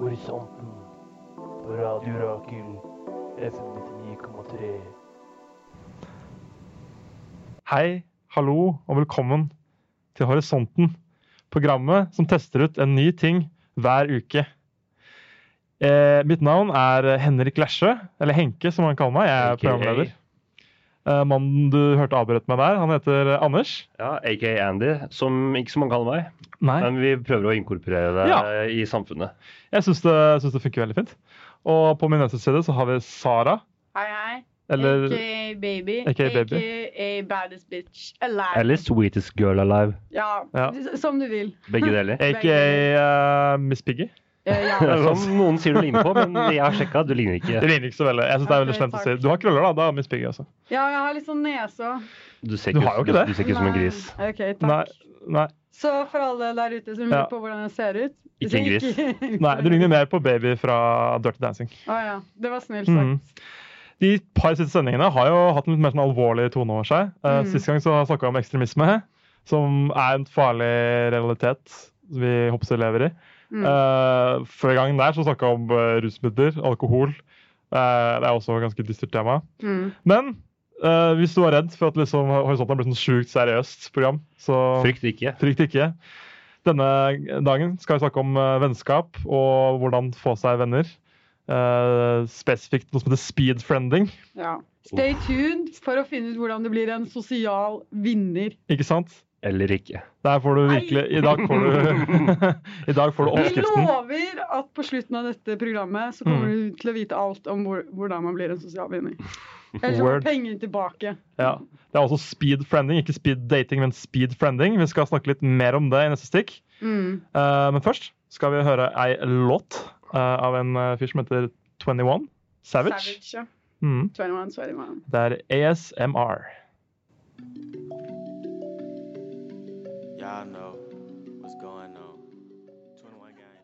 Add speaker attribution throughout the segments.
Speaker 1: Horisonten på Radio Rakel FM 99,3.
Speaker 2: Hei, hallo og velkommen til Horisonten. Programmet som tester ut en ny ting hver uke. Eh, mitt navn er Henrik Lesjø, eller Henke som han kaller meg. Jeg er
Speaker 3: AKA.
Speaker 2: programleder. Eh, mannen du hørte avbrøt meg der, han heter Anders.
Speaker 3: Ja, aka Andy, som ikke så mange kaller meg.
Speaker 2: Nei.
Speaker 3: Men vi prøver å inkorporere det
Speaker 2: Ja.
Speaker 3: eh, i samfunnet.
Speaker 2: Jeg syns det, jeg synes det funker veldig fint. Og på min venstre side så har vi Sara.
Speaker 4: Hei, hei.
Speaker 2: Eller
Speaker 4: AKA baby.
Speaker 2: AKA baby.
Speaker 4: AKA baddest bitch alive.
Speaker 3: Eller Sweetest Girl Alive.
Speaker 4: Ja,
Speaker 2: Ja.
Speaker 4: s- som du vil.
Speaker 3: Begge deler.
Speaker 2: aka eh, Miss Piggy.
Speaker 4: Eh, ja.
Speaker 3: Som sånn noen sier du ligner på, men jeg har sjekka, du ligner
Speaker 2: Det
Speaker 3: ikke.
Speaker 2: ligner ikke så veldig. Jeg synes det er veldig
Speaker 4: Ok,
Speaker 2: slemt å si.
Speaker 4: takk.
Speaker 2: Du har krøller, da. Da er Miss Piggy også.
Speaker 4: ja, jeg har litt sånn nese òg.
Speaker 3: Du ser
Speaker 2: Du
Speaker 3: ikke,
Speaker 2: har jo
Speaker 3: ut-
Speaker 2: ikke det.
Speaker 3: du ser ikke ut som en gris.
Speaker 4: OK, takk.
Speaker 2: Nei, nei,
Speaker 4: Så for alle der ute som
Speaker 2: Ja.
Speaker 4: lurer på hvordan jeg ser ut
Speaker 3: Ikke en gris.
Speaker 2: nei, du ligner mer på Baby fra Dirty Dancing.
Speaker 4: Å ja. Det var snilt
Speaker 2: Mm.
Speaker 4: sagt.
Speaker 2: De par siste sendingene har jo hatt en litt mer sånn alvorlig tone over seg. Eh,
Speaker 4: Mm.
Speaker 2: Sist gang så snakka vi om ekstremisme, som er en farlig realitet som vi håper vi lever i.
Speaker 4: Mm.
Speaker 2: Eh, Før gangen der så snakka vi om eh, rusmidler, alkohol. Eh, det er også et ganske dystert tema.
Speaker 4: Mm.
Speaker 2: Men eh, hvis du var redd for at liksom, Horisonten har blitt sånn sjukt seriøst program, så
Speaker 3: Frykt ikke.
Speaker 2: frykt ikke. Denne dagen skal vi snakke om eh, vennskap og hvordan få seg venner. Eh, spesifikt noe som heter speedfriending.
Speaker 4: Ja. Stay tuned for å finne ut hvordan du blir en sosial vinner.
Speaker 2: Ikke sant?
Speaker 3: Eller ikke.
Speaker 2: Der får du
Speaker 4: Nei.
Speaker 2: virkelig I dag får du, I dag får du
Speaker 4: Jeg
Speaker 2: oppskriften.
Speaker 4: lover at på slutten av dette programmet så kommer du til å vite alt om hvor, hvordan man blir en sosial vinner. Eller så
Speaker 2: Word.
Speaker 4: får pengene tilbake.
Speaker 2: Ja. Det er også speedfriending, ikke speeddating, men speedfriending. Vi skal snakke litt mer om det i neste stikk.
Speaker 4: Mm.
Speaker 2: Eh, men først skal vi høre ei låt eh, av en eh, fyr som heter 21 Savage.
Speaker 4: ja.
Speaker 2: Mm.
Speaker 4: 21, 21.
Speaker 2: Det er ASMR.
Speaker 5: Y'all know what's going on. 21 gang.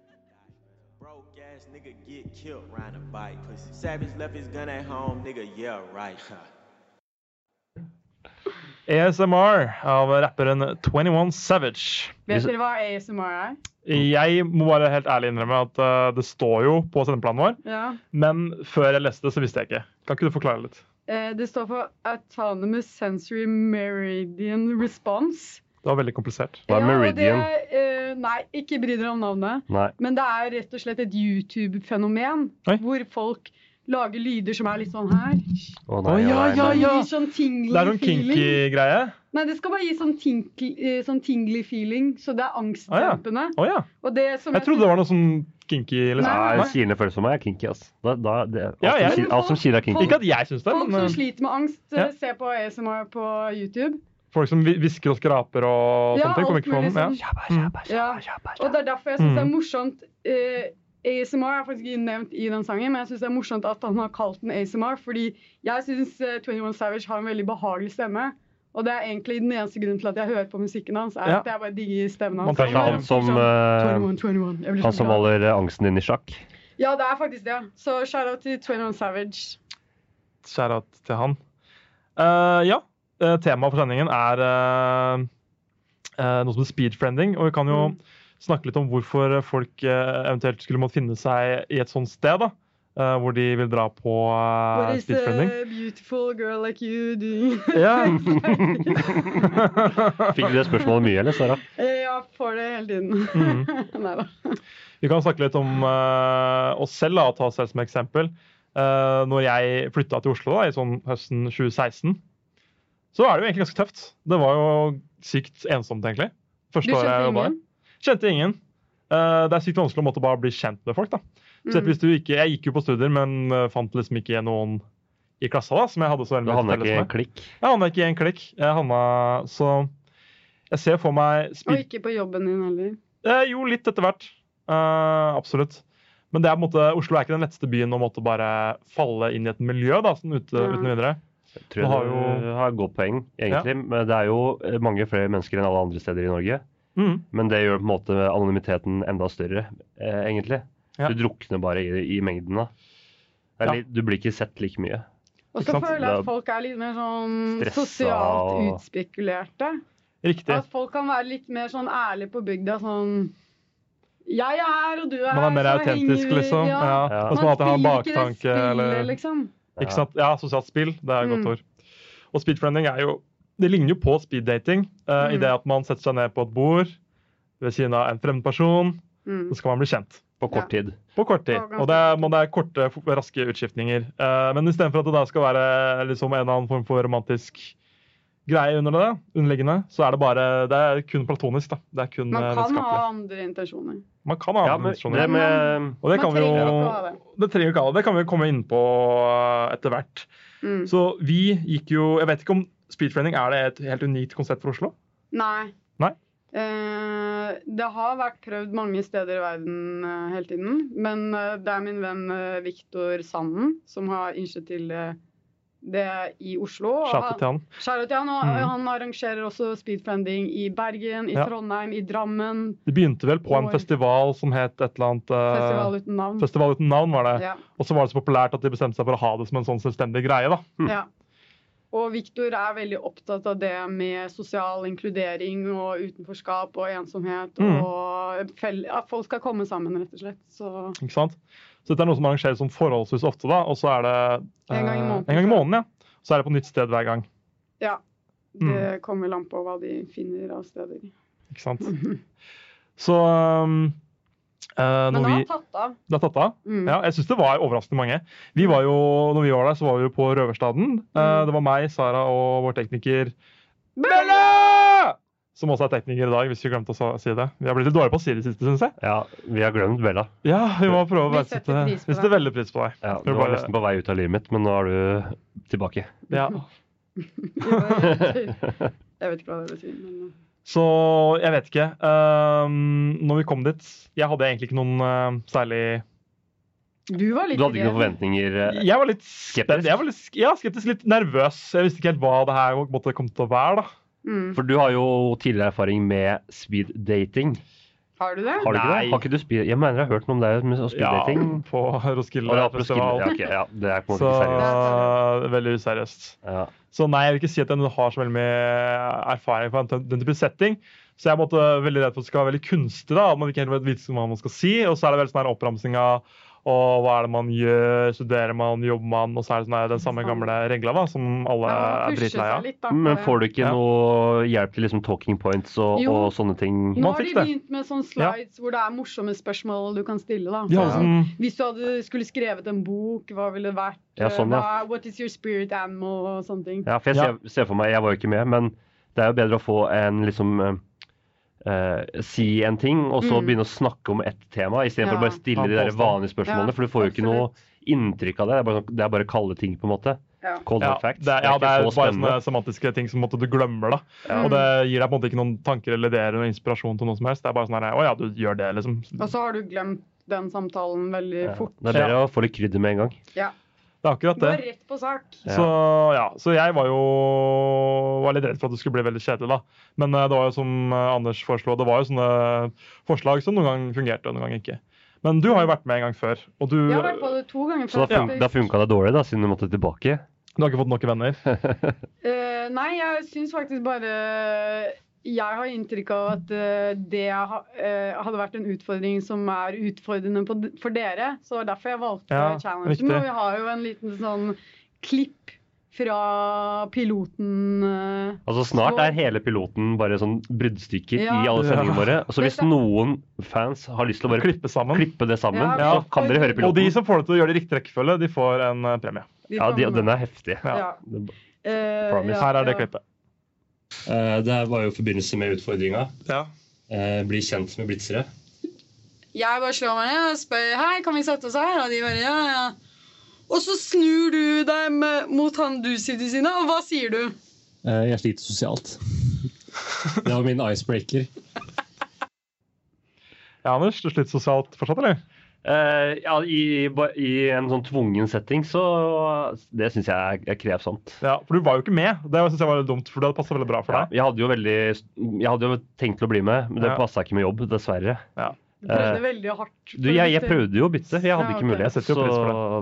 Speaker 5: Broke ass nigga get killed riding a bike. Pussy. Savage left his gun at home, nigga, yeah, right.
Speaker 2: ASMR av rapperen 21 Savage.
Speaker 4: Vet dere hva ASMR er?
Speaker 2: Jeg må bare helt ærlig innrømme at eh, det står jo på sendeplanen vår,
Speaker 4: Ja.
Speaker 2: men før jeg leste det, så visste jeg ikke. Kan ikke du forklare litt?
Speaker 4: Eh, Det står for Autonomous Sensory Meridian Response.
Speaker 2: Det var veldig komplisert.
Speaker 3: Hva er
Speaker 4: Ja, og
Speaker 3: Meridian?
Speaker 4: Det, eh, nei, ikke bry dere om navnet.
Speaker 3: Nei.
Speaker 4: Men det er rett og slett et YouTube-fenomen
Speaker 2: Oi.
Speaker 4: hvor folk lager lyder som er litt sånn her.
Speaker 3: Å
Speaker 2: Å,
Speaker 3: nei,
Speaker 2: ja,
Speaker 3: nei,
Speaker 2: ja,
Speaker 3: nei.
Speaker 4: Som
Speaker 2: ja.
Speaker 4: gir sånn tingly
Speaker 2: Det er sånn
Speaker 4: feeling.
Speaker 2: kinky greie.
Speaker 4: Nei, det skal bare gi sånn tingly, eh, sånn tingly feeling, så det er angstdempende.
Speaker 2: Å ja.
Speaker 4: Og det som
Speaker 2: Jeg trodde det var noe sånn kinky. Liksom.
Speaker 3: Nei,
Speaker 2: Nei.
Speaker 3: Sirene føles som meg er kinky, ass. Da, da, det, alt,
Speaker 2: Ja, jeg-
Speaker 3: som sier, alt som sier er kinky.
Speaker 2: Ikke at jeg syns det,
Speaker 4: Folk
Speaker 2: men
Speaker 4: som
Speaker 2: eh,
Speaker 4: sliter med angst,
Speaker 2: Ja.
Speaker 4: eh, se på ASMR på YouTube.
Speaker 2: folk som hvi- hvisker og skraper og
Speaker 4: Ja,
Speaker 2: sånne ting,
Speaker 4: alt
Speaker 2: kommer ikke på
Speaker 4: mulig
Speaker 2: den.
Speaker 4: sånn.
Speaker 2: Ja. Mm.
Speaker 4: Ja. Og det er derfor jeg syns det er morsomt eh, ASMR er faktisk ikke nevnt i den sangen, men jeg syns det er morsomt at han har kalt den ASMR, fordi jeg syns 21 Savage har en veldig behagelig stemme. Og det er egentlig den eneste grunnen til at jeg hører på musikken hans, er
Speaker 2: Ja.
Speaker 4: at jeg bare digger stemmen hans.
Speaker 2: Man
Speaker 3: Kanskje han som, eh,
Speaker 4: 21, 21. Jeg blir
Speaker 3: han
Speaker 4: så
Speaker 3: som
Speaker 4: glad.
Speaker 3: holder eh, angsten din i sjakk.
Speaker 4: Ja, det er faktisk det. Så shout-out til 21 Savage.
Speaker 2: Skjæra til han. Eh, ja, eh, temaet for sendingen er eh, eh, noe som heter speedfriending. Og vi kan jo
Speaker 4: Mm.
Speaker 2: snakke litt om hvorfor folk eh, eventuelt skulle måtte finne seg i et sånt sted. da, eh, hvor de vil dra på eh,
Speaker 4: What is
Speaker 2: speedfriending.
Speaker 4: a beautiful girl like you doing?
Speaker 2: Ja.
Speaker 3: Fikk du det spørsmålet mye, eller, Sara?
Speaker 4: jeg får det hele tiden.
Speaker 2: Mm.
Speaker 4: Neida.
Speaker 2: Vi kan snakke litt om eh, oss selv, da, og ta oss selv som eksempel. Eh, når jeg flytta til Oslo da, i sånn høsten 2016, så er det jo egentlig ganske tøft. Det var jo sykt ensomt, egentlig.
Speaker 4: Du
Speaker 2: Første året jeg
Speaker 4: skjønte
Speaker 2: jobbet der.
Speaker 4: ingen?
Speaker 2: Kjente ingen. Eh, det er sykt vanskelig å måtte bare bli kjent med folk. da. Spesielt
Speaker 4: Mm.
Speaker 2: hvis du ikke, Jeg gikk jo på studier, men eh, fant liksom ikke noen i klassa da, som jeg hadde så
Speaker 3: Du
Speaker 2: veldig mye
Speaker 3: havna
Speaker 2: felles
Speaker 3: ikke i en
Speaker 2: med.
Speaker 3: klikk.
Speaker 2: Jeg havna ikke i en klikk. Jeg havna, så jeg ser for meg
Speaker 4: Og
Speaker 2: speed...
Speaker 4: ikke på jobben din heller.
Speaker 2: Eh, jo, litt etter hvert. Eh, absolutt. Men det er på en måte, Oslo er ikke den letteste byen å måtte bare falle inn i et miljø da, sånn ute,
Speaker 4: Ja.
Speaker 2: uten videre.
Speaker 3: tror
Speaker 2: Du
Speaker 3: jeg
Speaker 2: har
Speaker 3: har
Speaker 2: jo-
Speaker 3: jo har et godt poeng, egentlig. Men det er jo eh, mange flere mennesker enn alle andre steder i Norge.
Speaker 2: Mm.
Speaker 3: Men det gjør på en måte anonymiteten enda større, eh, egentlig.
Speaker 2: Ja.
Speaker 3: Du drukner bare i, i mengden. da. Det
Speaker 2: Ja.
Speaker 3: er litt- Du blir ikke sett like mye.
Speaker 4: Og
Speaker 2: Ikke
Speaker 4: så
Speaker 2: sant?
Speaker 4: føler jeg
Speaker 3: Det er
Speaker 4: at folk er litt mer sånn
Speaker 3: stressa
Speaker 4: sosialt
Speaker 3: og-
Speaker 4: utspekulerte.
Speaker 2: Riktig.
Speaker 4: At folk kan være litt mer sånn ærlige på bygda. Sånn Jeg er her, og du er her.
Speaker 2: Man er mer
Speaker 4: så
Speaker 2: autentisk,
Speaker 4: henger vi-
Speaker 2: liksom. Ja.
Speaker 3: Ja.
Speaker 2: Og så man alltid har
Speaker 4: spiller ikke det
Speaker 2: baktanke
Speaker 4: spillet,
Speaker 2: eller
Speaker 4: liksom.
Speaker 2: Ikke sant? Ja, sosialt spill. Det er et
Speaker 4: Mm.
Speaker 2: godt ord. Og speedfriending er jo Det ligner jo på speeddating eh, i
Speaker 4: Mm.
Speaker 2: det at man setter seg ned på et bord ved siden av en fremmed person,
Speaker 4: Mm.
Speaker 2: så skal man bli kjent.
Speaker 3: På kort tid.
Speaker 2: På kort tid.
Speaker 4: Ja, ganske
Speaker 2: Og det er, men det er korte, f- raske utskiftninger. Eh, men istedenfor at det da skal være liksom, en eller annen form for romantisk greie under det, underliggende, så er det bare Det er kun platonisk, da. Det er kun
Speaker 4: Man
Speaker 2: eh,
Speaker 4: kan
Speaker 2: vennskapelig.
Speaker 4: ha andre intensjoner.
Speaker 2: Man kan ha
Speaker 3: Ja, men sånn
Speaker 2: ambisjoner.
Speaker 3: det med
Speaker 2: Og det
Speaker 4: Man
Speaker 2: kan vi jo
Speaker 4: trenger ikke å ha det.
Speaker 2: det trenger ikke alle. Det kan vi komme inn på eh, etter hvert.
Speaker 4: Mm.
Speaker 2: Så vi gikk jo Jeg vet ikke om speedfriending er det et helt unikt konsept for Oslo?
Speaker 4: Nei.
Speaker 2: Nei?
Speaker 4: Eh, det har vært prøvd mange steder i verden eh, hele tiden. Men eh, det er min venn eh, Viktor Sanden som har initiert til eh, det i Oslo. og
Speaker 2: Shout out
Speaker 4: han-
Speaker 2: til han.
Speaker 4: Shoutout til han, og
Speaker 2: Mm.
Speaker 4: han arrangerer også speedfriending i Bergen, i
Speaker 2: Ja.
Speaker 4: Trondheim, i Drammen.
Speaker 2: Det begynte vel på en
Speaker 4: Oi.
Speaker 2: festival som het et eller annet eh,
Speaker 4: Festival uten navn.
Speaker 2: Festival uten navn, var det.
Speaker 4: Ja.
Speaker 2: Og så var det så populært at de bestemte seg for å ha det som en sånn selvstendig greie. da.
Speaker 4: Ja. Og Viktor er veldig opptatt av det med sosial inkludering og utenforskap og ensomhet.
Speaker 2: Mm.
Speaker 4: Og fell at folk skal komme sammen, rett og slett. Så
Speaker 2: Ikke sant? Så dette er noe som arrangeres som forholdsvis ofte, da, og så er det eh,
Speaker 4: En gang i måneden.
Speaker 2: en gang i måneden, ja. Så er det på nytt sted hver gang.
Speaker 4: ja.
Speaker 3: Mm.
Speaker 4: Det kommer vel an på hva de finner av steder.
Speaker 2: Ikke sant? Så um, eh,
Speaker 4: Mhm. Men
Speaker 2: når
Speaker 4: det
Speaker 2: vi
Speaker 4: har tatt av.
Speaker 2: Det er tatt av?
Speaker 4: Mm.
Speaker 2: Ja, jeg syns det var overraskende mange. Vi var jo, når vi var der, så var vi jo på Røverstaden. Eh,
Speaker 4: Mm.
Speaker 2: Det var meg, Sara og vår tekniker Bella! Som også er tekniker i dag, hvis vi glemte å sa- si det. Vi har blitt litt dårlige på å si det siste, syns jeg.
Speaker 3: Ja, vi har glemt Bella.
Speaker 2: Ja, vi må prøve å
Speaker 4: Vi
Speaker 2: verdsette
Speaker 4: setter pris på
Speaker 2: Vi setter veldig pris på deg.
Speaker 3: Ja,
Speaker 2: Skal
Speaker 3: du
Speaker 2: vi
Speaker 3: var
Speaker 2: bare-
Speaker 3: nesten på vei ut av livet mitt, men nå er du tilbake.
Speaker 2: Ja.
Speaker 4: Jeg vet ikke hva det vil si. Men...
Speaker 2: Så jeg vet ikke. Um, når vi kom dit Jeg hadde egentlig ikke noen eh, særlig
Speaker 4: eh, Du var litt
Speaker 3: Du hadde ikke noen
Speaker 4: redd.
Speaker 3: forventninger? eh,
Speaker 2: Jeg var litt skeptisk. Jeg var litt, sk- ja, skeptisk, litt nervøs. Jeg visste ikke helt hva det her måtte komme til å være. da.
Speaker 4: Mm.
Speaker 3: For du har jo tidligere erfaring med speed dating.
Speaker 4: Har du det?
Speaker 3: Har du ikke
Speaker 2: Nei.
Speaker 3: det? Har ikke du speed... Jeg mener jeg har hørt noe om deg med speed dating.
Speaker 2: Ja, på Roskilde
Speaker 3: Og det er på Roskilde.
Speaker 2: festival.
Speaker 3: Ja, ok, ja, det er på en
Speaker 2: Så
Speaker 3: måte ikke seriøst.
Speaker 2: eh, veldig useriøst.
Speaker 3: Ja.
Speaker 2: Så nei, jeg vil ikke si at jeg har så veldig mye erfaring fra den- den type setting. Så jeg måtte veldig redd for at det skal være veldig kunstig, da, at man ikke helt vet hva man skal si. Og så er det veldig sånn her oppramsing av og hva er det man gjør, studerer man, jobber man, og så er det sånn her den samme gamle regla da, som alle
Speaker 4: Ja,
Speaker 2: er
Speaker 4: pushe
Speaker 2: dritlei
Speaker 4: seg
Speaker 2: av.
Speaker 4: litt, da.
Speaker 3: Men får du ikke
Speaker 2: Ja.
Speaker 3: noe hjelp til liksom talking points og,
Speaker 4: Jo.
Speaker 3: og sånne ting?
Speaker 4: Nå
Speaker 2: Man
Speaker 4: har de
Speaker 2: fikk det.
Speaker 4: begynt med sånne slides hvor det er morsomme spørsmål du kan stille. da.
Speaker 2: De hadde sånn
Speaker 4: Hvis du hadde skulle skrevet en bok, hva ville det vært? Eh,
Speaker 3: Ja, sånn, ja.
Speaker 4: Hva- What is your spirit animal? og sånne ting.
Speaker 3: Ja, for jeg ser, ser for meg, jeg var jo ikke med, men det er jo bedre å få en liksom eh, eh, si en ting, og så
Speaker 4: Mm.
Speaker 3: begynne å snakke om ett tema,
Speaker 4: Ja.
Speaker 3: istedenfor for å bare stille
Speaker 2: Ja,
Speaker 3: de der
Speaker 2: påstand.
Speaker 3: vanlige spørsmålene.
Speaker 4: Ja,
Speaker 3: for du får jo ikke noe inntrykk av det. Det er bare, sånn- det er bare kalde ting, på en måte.
Speaker 4: Ja.
Speaker 3: Cold
Speaker 2: ja,
Speaker 3: hard facts.
Speaker 2: det, er- ja, det er
Speaker 3: ikke så
Speaker 2: bare sånn
Speaker 3: spennende.
Speaker 2: sånne semantiske ting som måtte du glemmer. da. Og det gir deg på en måte ikke noen tanker eller ideer eller inspirasjon til noe som helst. Det er bare sånn her, å ja, du gjør det, liksom.
Speaker 4: Og så har du glemt den samtalen veldig
Speaker 3: Ja.
Speaker 4: fort.
Speaker 3: Det er bedre å få litt krydder med en gang.
Speaker 4: Ja.
Speaker 2: Det er akkurat
Speaker 4: Gå
Speaker 2: det.
Speaker 4: rett på sak.
Speaker 3: Ja.
Speaker 2: Så ja, så jeg var jo var litt redd for at det skulle bli veldig kjedelig, da. Men eh, det var jo som eh, Anders foreslo, det var jo sånne forslag som noen gang fungerte, og noen gang ikke. Men du har jo vært med en gang før, og du,
Speaker 4: Jeg har vært på
Speaker 2: du
Speaker 4: det to ganger.
Speaker 3: Så da, fun
Speaker 4: faktisk.
Speaker 3: da funka det dårlig, da, siden du måtte tilbake.
Speaker 2: har ikke fått nok venner.
Speaker 4: Eh, nei, jeg syns faktisk bare eh, Jeg har inntrykk av at eh, det ha, eh, hadde vært en utfordring som er utfordrende på, d- for dere. Så det var derfor jeg valgte
Speaker 2: Ja,
Speaker 4: challengen.
Speaker 2: riktig.
Speaker 4: Og vi har jo en liten sånn klipp fra piloten. eh,
Speaker 3: Altså Snart
Speaker 4: Så-
Speaker 3: er hele piloten bare sånn bruddstykker
Speaker 4: Ja.
Speaker 3: i alle sendingene
Speaker 2: Ja.
Speaker 3: våre. Så hvis
Speaker 4: Dette-
Speaker 3: noen fans har lyst til å bare
Speaker 2: Klippe sammen.
Speaker 3: klippe det sammen,
Speaker 4: Ja,
Speaker 2: Ja.
Speaker 3: så kan dere høre
Speaker 2: Og de
Speaker 3: piloten.
Speaker 2: som får det til å gjøre det i riktig rekkefølge, de får en eh, premie.
Speaker 3: Ja, de,
Speaker 4: får
Speaker 3: og den er heftig.
Speaker 2: Ja.
Speaker 4: Ja.
Speaker 3: Det-
Speaker 4: Eh,
Speaker 3: Promise.
Speaker 4: ja,
Speaker 2: Her er det
Speaker 4: ja.
Speaker 2: klippet.
Speaker 6: Eh, Det her var jo i forbindelse med utfordringa.
Speaker 2: Ja.
Speaker 6: Eh, Bli kjent med blitzere.
Speaker 4: Jeg bare slår meg ned og spør Hei, kan vi sette oss her? Og de bare ja, ja. Og så snur du deg med, mot han du sitter ved siden av, og hva sier du?
Speaker 6: Eh, Jeg sliter sosialt. Det var min icebreaker.
Speaker 2: ja, Anders, du sliter sosialt fortsatt, eller?
Speaker 3: Eh, ja, i, ba- I en sånn tvungen setting, så Det syns jeg er, er krevsomt.
Speaker 2: Ja, For du var jo ikke med. Det synes jeg var litt dumt, for det hadde passet veldig bra for
Speaker 3: Ja,
Speaker 2: deg.
Speaker 3: jeg hadde jo veldig Jeg hadde jo tenkt å bli med, men det
Speaker 2: Ja.
Speaker 3: passa ikke med jobb, dessverre.
Speaker 4: Du prøvde veldig hardt.
Speaker 3: Eh, Du, jeg, jeg prøvde jo å bytte, jeg
Speaker 4: Ja,
Speaker 3: hadde ikke
Speaker 4: ok.
Speaker 2: Jeg
Speaker 3: mulighet.
Speaker 2: setter jo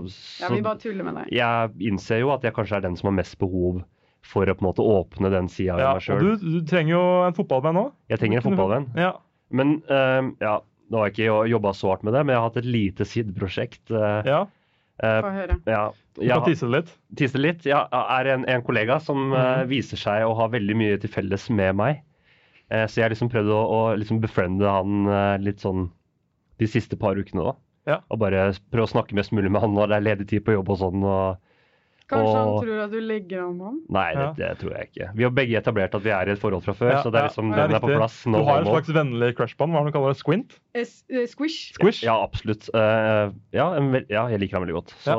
Speaker 2: pris
Speaker 4: Ja,
Speaker 3: Så,
Speaker 4: vi bare tuller med deg.
Speaker 3: jeg innser jo at jeg kanskje er den som har mest behov for å på en måte åpne den sida
Speaker 2: Ja,
Speaker 3: av meg
Speaker 2: og Mhm.
Speaker 3: sjøl.
Speaker 2: du, du trenger jo en fotballvenn nå.
Speaker 3: Jeg trenger en fotballvenn.
Speaker 2: Ja.
Speaker 3: Men eh, ja, Nå har jeg ikke jobba så hardt med det, men jeg har hatt et lite sideprosjekt. eh,
Speaker 2: Ja,
Speaker 3: eh,
Speaker 4: Få høre.
Speaker 3: ja.
Speaker 2: du
Speaker 3: Jeg
Speaker 2: kan
Speaker 3: har-
Speaker 2: tisse det litt.
Speaker 3: tisse litt. Jeg er en, en kollega som
Speaker 2: Mhm.
Speaker 3: eh, viser seg å ha veldig mye til felles med meg. Eh, så jeg har liksom prøvd å, å liksom befriende han eh, litt sånn de siste par ukene. da.
Speaker 2: Ja.
Speaker 3: Og bare prøve å snakke mest mulig med han når det er ledig tid på jobb og sånn. og
Speaker 4: Kanskje han
Speaker 3: Og-
Speaker 4: tror at du legger an med ham?
Speaker 3: Nei, det,
Speaker 2: Ja.
Speaker 3: det tror jeg ikke. Vi har begge etablert at vi er i et forhold fra før,
Speaker 2: Ja,
Speaker 3: så det er
Speaker 2: ja,
Speaker 3: liksom
Speaker 2: det er
Speaker 3: den er på
Speaker 2: riktig.
Speaker 3: plass.
Speaker 2: Du
Speaker 3: No
Speaker 2: har en
Speaker 3: homo.
Speaker 2: slags vennlig crush på han, hva er det du kaller det? Squint?
Speaker 4: Es- eh, Squish?
Speaker 2: Squish?
Speaker 3: Ja, absolutt. Eh, ja, en vel- ja, jeg liker han veldig godt. Så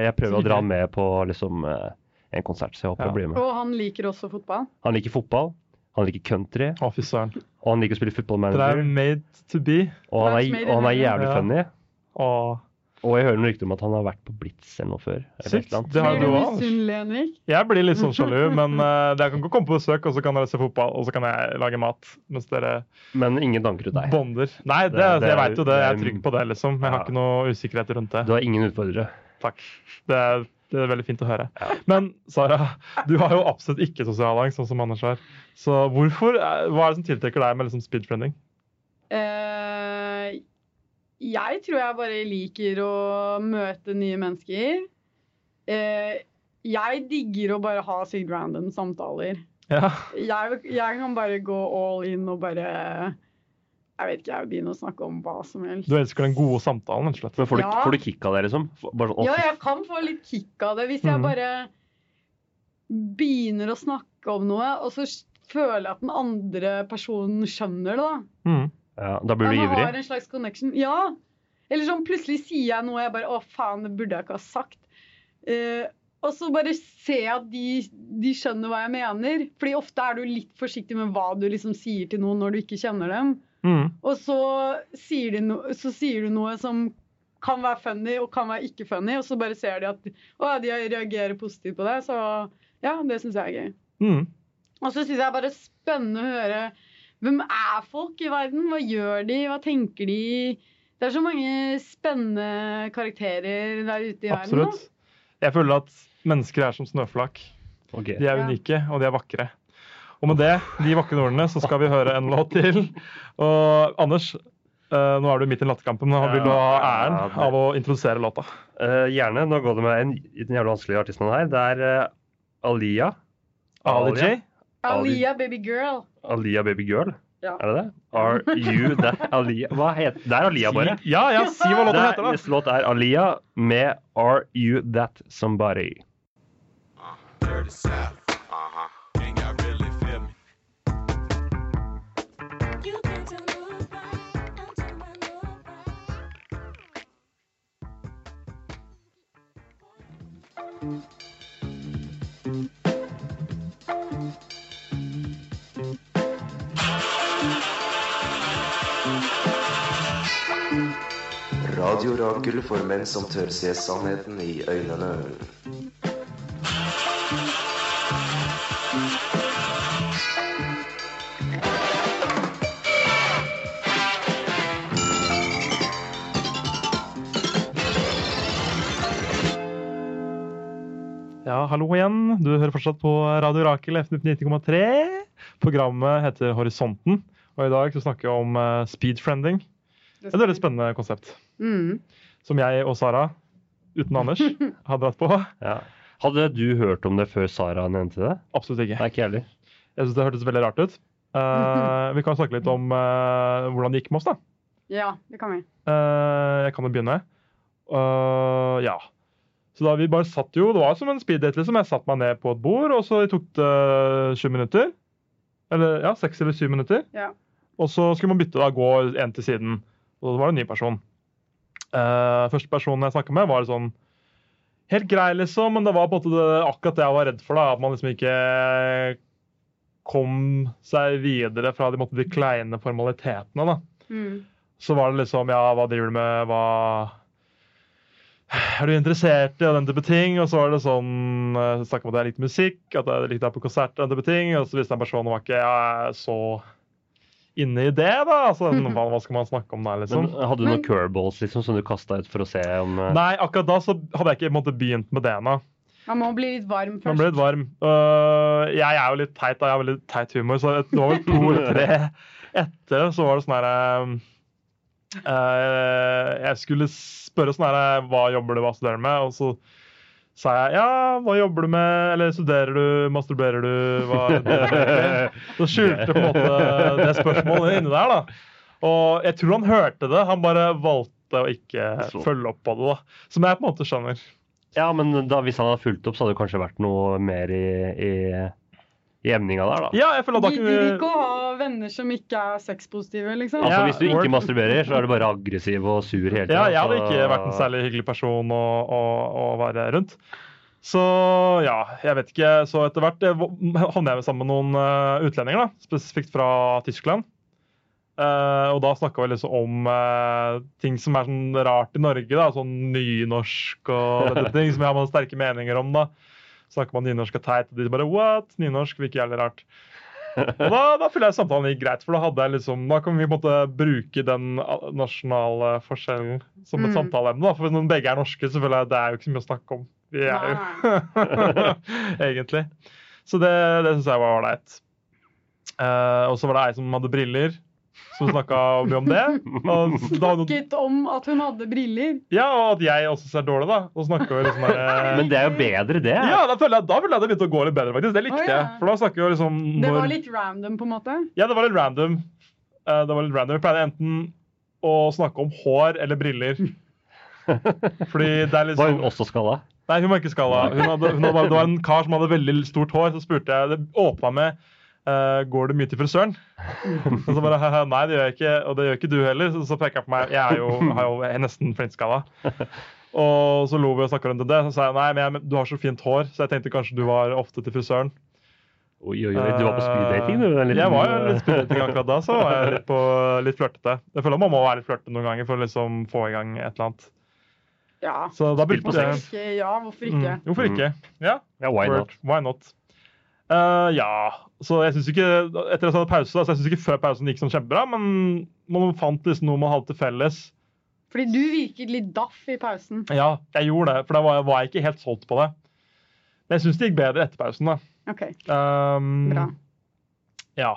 Speaker 3: jeg prøver
Speaker 2: Så
Speaker 3: å dra
Speaker 2: hyggelig.
Speaker 3: han med på liksom, eh, en konsert, så jeg håper
Speaker 2: Ja.
Speaker 3: han blir med.
Speaker 4: Og han liker også fotball.
Speaker 3: Han liker fotball, han liker country,
Speaker 2: Å, fy søren.
Speaker 3: og han liker å spille football
Speaker 2: Dere er
Speaker 3: manager.
Speaker 2: made to be.
Speaker 3: Og han
Speaker 4: Match made
Speaker 3: er,
Speaker 4: in
Speaker 3: og han er
Speaker 4: heaven.
Speaker 3: jævlig
Speaker 2: Ja.
Speaker 3: funny.
Speaker 2: Åh,
Speaker 3: Og jeg hører noen rykter om at han har vært på Blitz eller noe før. eller
Speaker 2: sykt.
Speaker 3: et eller annet.
Speaker 2: Det har
Speaker 4: Blir
Speaker 2: du
Speaker 4: du
Speaker 2: òg.
Speaker 4: misunnelig, Henrik?
Speaker 2: Jeg blir litt sånn sjalu, men eh, dere kan godt komme på besøk, og så kan dere se fotball, og så kan jeg lage mat mens dere
Speaker 3: Men ingen danker til deg.
Speaker 2: bonder. Nei, det, altså,
Speaker 3: Det- det
Speaker 2: jeg
Speaker 3: er-
Speaker 2: veit jo det. Jeg er
Speaker 3: det er-
Speaker 2: trygg på det, liksom. Jeg har
Speaker 3: Ja.
Speaker 2: ikke noe usikkerhet rundt det.
Speaker 3: Du har ingen utfordrere.
Speaker 2: Takk. Det er, det er veldig fint å høre. Men Sara, du har jo absolutt ikke sosial angst, sånn som Anders har. Så hvorfor, er- hva er det som tiltrekker deg med liksom speedfriending?
Speaker 4: Eh, jeg tror jeg bare liker å møte nye mennesker. Eh, jeg digger å bare ha sykt random samtaler.
Speaker 2: Ja.
Speaker 4: Jeg, jeg kan bare gå all in og bare Jeg vet ikke, jeg begynner å snakke om hva som helst.
Speaker 2: Du elsker den gode samtalen, rett og slett.
Speaker 3: Men får du,
Speaker 4: Ja.
Speaker 3: får du kick av det, liksom? Får- Bare sånn, å,
Speaker 4: Ja,
Speaker 3: fy
Speaker 4: jeg kan få litt kick av det hvis jeg
Speaker 2: Mhm.
Speaker 4: bare begynner å snakke om noe, og så føler jeg at den andre personen skjønner det. da.
Speaker 2: Mm.
Speaker 3: Ja, da blir du
Speaker 4: Ja, man
Speaker 3: ivrig.
Speaker 4: har en slags connection. Ja. Eller sånn plutselig sier jeg noe jeg bare Å, faen, det burde jeg ikke ha sagt. Eh, og så bare ser jeg at de, de skjønner hva jeg mener. Fordi ofte er du litt forsiktig med hva du liksom sier til noen når du ikke kjenner dem.
Speaker 2: Mm.
Speaker 4: Og så sier, de no, så sier du noe som kan være funny og kan være ikke funny, og så bare ser de at å, ja, de reagerer positivt på det. Så ja, det syns jeg er gøy.
Speaker 2: Mm.
Speaker 4: Og så syns jeg bare det er spennende å høre hvem er folk i verden? Hva gjør de? Hva tenker de? Det er så mange spennende karakterer der ute i verden.
Speaker 2: Absolutt. Jeg føler at mennesker er som snøflak.
Speaker 3: Ok.
Speaker 2: De er
Speaker 4: Ja.
Speaker 2: unike, og de er vakre. Og med det, de vakre ordene, så skal vi høre en låt til. Og Anders, eh, nå er du midt i latterkampen, men vil du ha æren
Speaker 3: Ja, det-
Speaker 2: av å introdusere låta?
Speaker 3: Eh, gjerne. Nå går det med en, den jævla vanskelige artisten her. Det er eh, Alia.
Speaker 2: Ali J?
Speaker 4: da. Alia, baby girl.
Speaker 3: Alia Baby Girl?
Speaker 4: Ja.
Speaker 3: Er det det? Are you that Alia? Hva heter Det er Alia, bare.
Speaker 2: Ja, ja, si hva låta
Speaker 3: Det
Speaker 2: heter,
Speaker 3: er-
Speaker 2: da.
Speaker 3: Neste låt er Alia med Are You That Somebody.
Speaker 5: Dirty South. Uh-huh. Can y'all really feel me?
Speaker 7: You better move right, I'll do my love right.
Speaker 8: Radiorakel for menn som tør se sannheten i øynene.
Speaker 2: Ja, hallo igjen. Du hører fortsatt på Radio Rakel FNUP 90,3. Programmet heter Horisonten, og i dag skal vi snakke om eh, speedfriending.
Speaker 4: Det
Speaker 2: Et veldig spennende konsept
Speaker 4: Mm.
Speaker 2: som jeg og Sara, uten Anders, har dratt på.
Speaker 3: Ja. Hadde du hørt om det før Sara nevnte det?
Speaker 2: Absolutt ikke.
Speaker 3: Nei, ikke heller.
Speaker 2: Jeg syns det hørtes veldig rart ut. Eh, vi kan snakke litt om eh, hvordan det gikk med oss, da.
Speaker 4: Ja, det kan vi.
Speaker 2: Eh, jeg kan jo begynne. Eh, ja. Så da vi bare satt jo, Det var som en speeddate. liksom. Jeg satte meg ned på et bord, og så tok det eh, sju minutter. Eller ja, seks eller syv minutter.
Speaker 4: Ja.
Speaker 2: Og så skulle man bytte, da, gå én til siden. Og så var det en ny person. Eh, første personen jeg snakka med, var sånn Helt grei, liksom, men det var på en måte det, akkurat det jeg var redd for. da, At man liksom ikke kom seg videre fra de, måte, de kleine formalitetene. da
Speaker 4: Mm.
Speaker 2: så var det liksom Ja, hva driver du med? Hva Er du interessert i og den type ting? Og så var det sånn eh, Snakka om at jeg likte musikk, at jeg likte deg på konsert og den type ting. Og så visste den personen var ikke jeg er så inne i det, da. Så sånn, hva, hva skal man snakke om der,
Speaker 3: Men
Speaker 2: liksom?
Speaker 3: hadde du
Speaker 4: Men-
Speaker 3: noen curveballs liksom, som du kasta ut for å se om eh,
Speaker 2: Nei, akkurat da så hadde jeg ikke på en måte, begynt med det ennå.
Speaker 4: Man må bli litt varm
Speaker 2: Man
Speaker 4: først.
Speaker 2: ble litt varm. Øh, jeg er jo litt teit, da. Jeg har veldig teit humor, så det var vel to eller tre etter så var det sånn herre Eh, jeg skulle spørre sånn her, hva jobber du hva studerer du med, og så sa jeg ja, hva jobber du med, eller studerer du, masturberer du, hva er det du gjør egentlig?» Så skjulte på en måte det spørsmålet inni der, da. Og jeg tror han hørte det, han bare valgte å ikke
Speaker 3: Så.
Speaker 2: følge opp på det, da. Som jeg på en måte skjønner.
Speaker 3: Ja, men da, hvis han hadde fulgt opp, så hadde det kanskje vært noe mer i, i, i emninga der, da.
Speaker 2: Ja, jeg føler at da
Speaker 4: Gidder
Speaker 2: kunne
Speaker 4: ikke å ha venner som ikke er sexpositive, liksom.
Speaker 3: Altså,
Speaker 2: Ja,
Speaker 3: Hvis du
Speaker 2: word.
Speaker 3: ikke masturberer, så er du bare aggressiv og sur hele tiden,
Speaker 2: Ja, jeg hadde
Speaker 3: så-
Speaker 2: ikke vært en særlig hyggelig person å, å, å være rundt. Så ja, jeg vet ikke. Så etter hvert eh, hvor- havnet jeg sammen med noen eh, utlendinger, da, spesifikt fra Tyskland. Eh, og da snakka vi liksom om eh, ting som er sånn rart i Norge, da, sånn nynorsk og dette ting som jeg har noen sterke meninger om. da. Snakker man nynorsk er teit, og de bare what? Nynorsk virker jævlig rart. Og da, da føler jeg samtalen gikk greit, for da hadde jeg liksom, da kan vi på en måte bruke den a- nasjonale forskjellen som et
Speaker 4: Mm.
Speaker 2: samtaleemne. da, For når begge er norske, så føler jeg det er jo ikke så mye å snakke om. Vi er jo Egentlig. Så det, det syns jeg var ålreit. Eh, og så var det ei som hadde briller, som snakka mye om det. Og da,
Speaker 4: Snakket om at hun hadde briller.
Speaker 2: ja, og at jeg også ser dårlig, da. Og snakker jo liksom der,
Speaker 3: Men det er jo bedre, det.
Speaker 2: ja, da føler jeg, da ville jeg det begynte å gå litt bedre, faktisk. Det likte
Speaker 4: Å, ja.
Speaker 2: jeg. For da snakker vi jo liksom
Speaker 4: Det
Speaker 2: når-
Speaker 4: var litt random, på en måte.
Speaker 2: Ja, det var litt random. Eh, Det var litt random. Vi pleide enten å snakke om hår eller briller. Fordi det er
Speaker 3: Var hun
Speaker 2: liksom
Speaker 3: også skalla?
Speaker 2: Nei, hun var ikke skalla. Hun hadde, hun hadde, bare- det var en kar som hadde veldig stort hår. Så spurte jeg Det åpna med eh, Går du mye til frisøren? Og så bare «Haha, Nei, det gjør jeg ikke. Og det gjør ikke du heller. Så, så peker jeg på meg. Jeg er jo, har jo jeg er nesten flintskalla. Og så lo vi og snakka rundt om det. Så sa jeg nei, men jeg, men du har så fint hår, så jeg tenkte kanskje du var ofte til frisøren.
Speaker 3: Oi, oi, oi, du var på speeddating, du. en liten-
Speaker 2: Eh, Jeg var jo litt speeddating akkurat da, så var jeg litt, på, litt flørtete. Jeg føler man må være litt flørtete noen ganger for å liksom få i gang et eller annet.
Speaker 4: Ja.
Speaker 2: Så da
Speaker 3: Spill på
Speaker 2: brukte
Speaker 4: Hvorfor
Speaker 2: jeg
Speaker 4: ikke? Ja, hvorfor
Speaker 2: mm,
Speaker 4: ikke?
Speaker 2: Hvorfor ikke? Ja,
Speaker 3: Ja, why
Speaker 2: word.
Speaker 3: not?
Speaker 2: Why not? Eh, ja, så jeg synes ikke Etter at jeg hadde pause, da, så jeg synes ikke før pausen gikk sånn kjempebra, men man fant liksom noe man hadde til felles.
Speaker 4: Fordi du virket litt daff i pausen.
Speaker 2: Ja, jeg gjorde det, for da var jeg, var jeg ikke helt solgt på det. Men jeg syns det gikk bedre etter pausen, da.
Speaker 4: OK,
Speaker 2: Ehm,
Speaker 4: bra.
Speaker 2: Ja.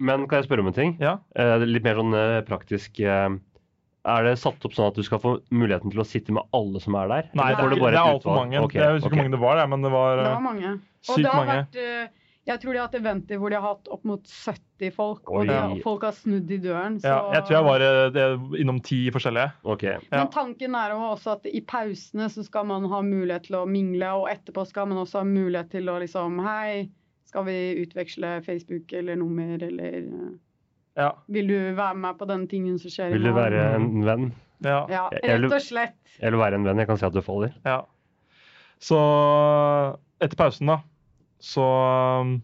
Speaker 3: Men kan jeg spørre om en ting?
Speaker 2: ja.
Speaker 3: Eh, litt mer sånn eh, praktisk. eh, er det satt opp sånn at du skal få muligheten til å sitte med alle som er der?
Speaker 2: Nei, det
Speaker 3: Eller får
Speaker 2: er,
Speaker 3: du
Speaker 2: ikke-
Speaker 3: bare
Speaker 2: det er
Speaker 3: et
Speaker 2: altfor
Speaker 3: utvalg?
Speaker 2: mange.
Speaker 3: Ok,
Speaker 2: jeg vet ikke
Speaker 3: ok.
Speaker 2: hvor mange det var, jeg, men det var,
Speaker 4: Det
Speaker 2: eh,
Speaker 4: var mange. Og
Speaker 2: sykt
Speaker 4: det har
Speaker 2: mange.
Speaker 4: vært eh, Jeg tror de har hatt eventer hvor de har hatt opp mot 70 folk,
Speaker 3: Oi.
Speaker 4: og det- folk har snudd i døren. Så...
Speaker 2: Ja, jeg tror jeg var eh, det- innom ti forskjellige.
Speaker 3: Ok.
Speaker 2: Ja.
Speaker 4: Men tanken er jo også at i pausene så skal man ha mulighet til å mingle, og etterpå skal man også ha mulighet til å liksom Hei, skal vi utveksle Facebook eller nummer, eller eh,
Speaker 2: Ja,
Speaker 4: Vil du være med på den tingen som skjer i
Speaker 3: Vil du
Speaker 4: morgen?»
Speaker 3: være en venn?
Speaker 2: ja, ja.
Speaker 4: Ja,
Speaker 3: Jeg- jeg
Speaker 4: rett
Speaker 3: vil-
Speaker 4: og slett.
Speaker 3: Jeg vil være en venn. Jeg kan si at du faller.
Speaker 2: Så etter pausen, da, så um,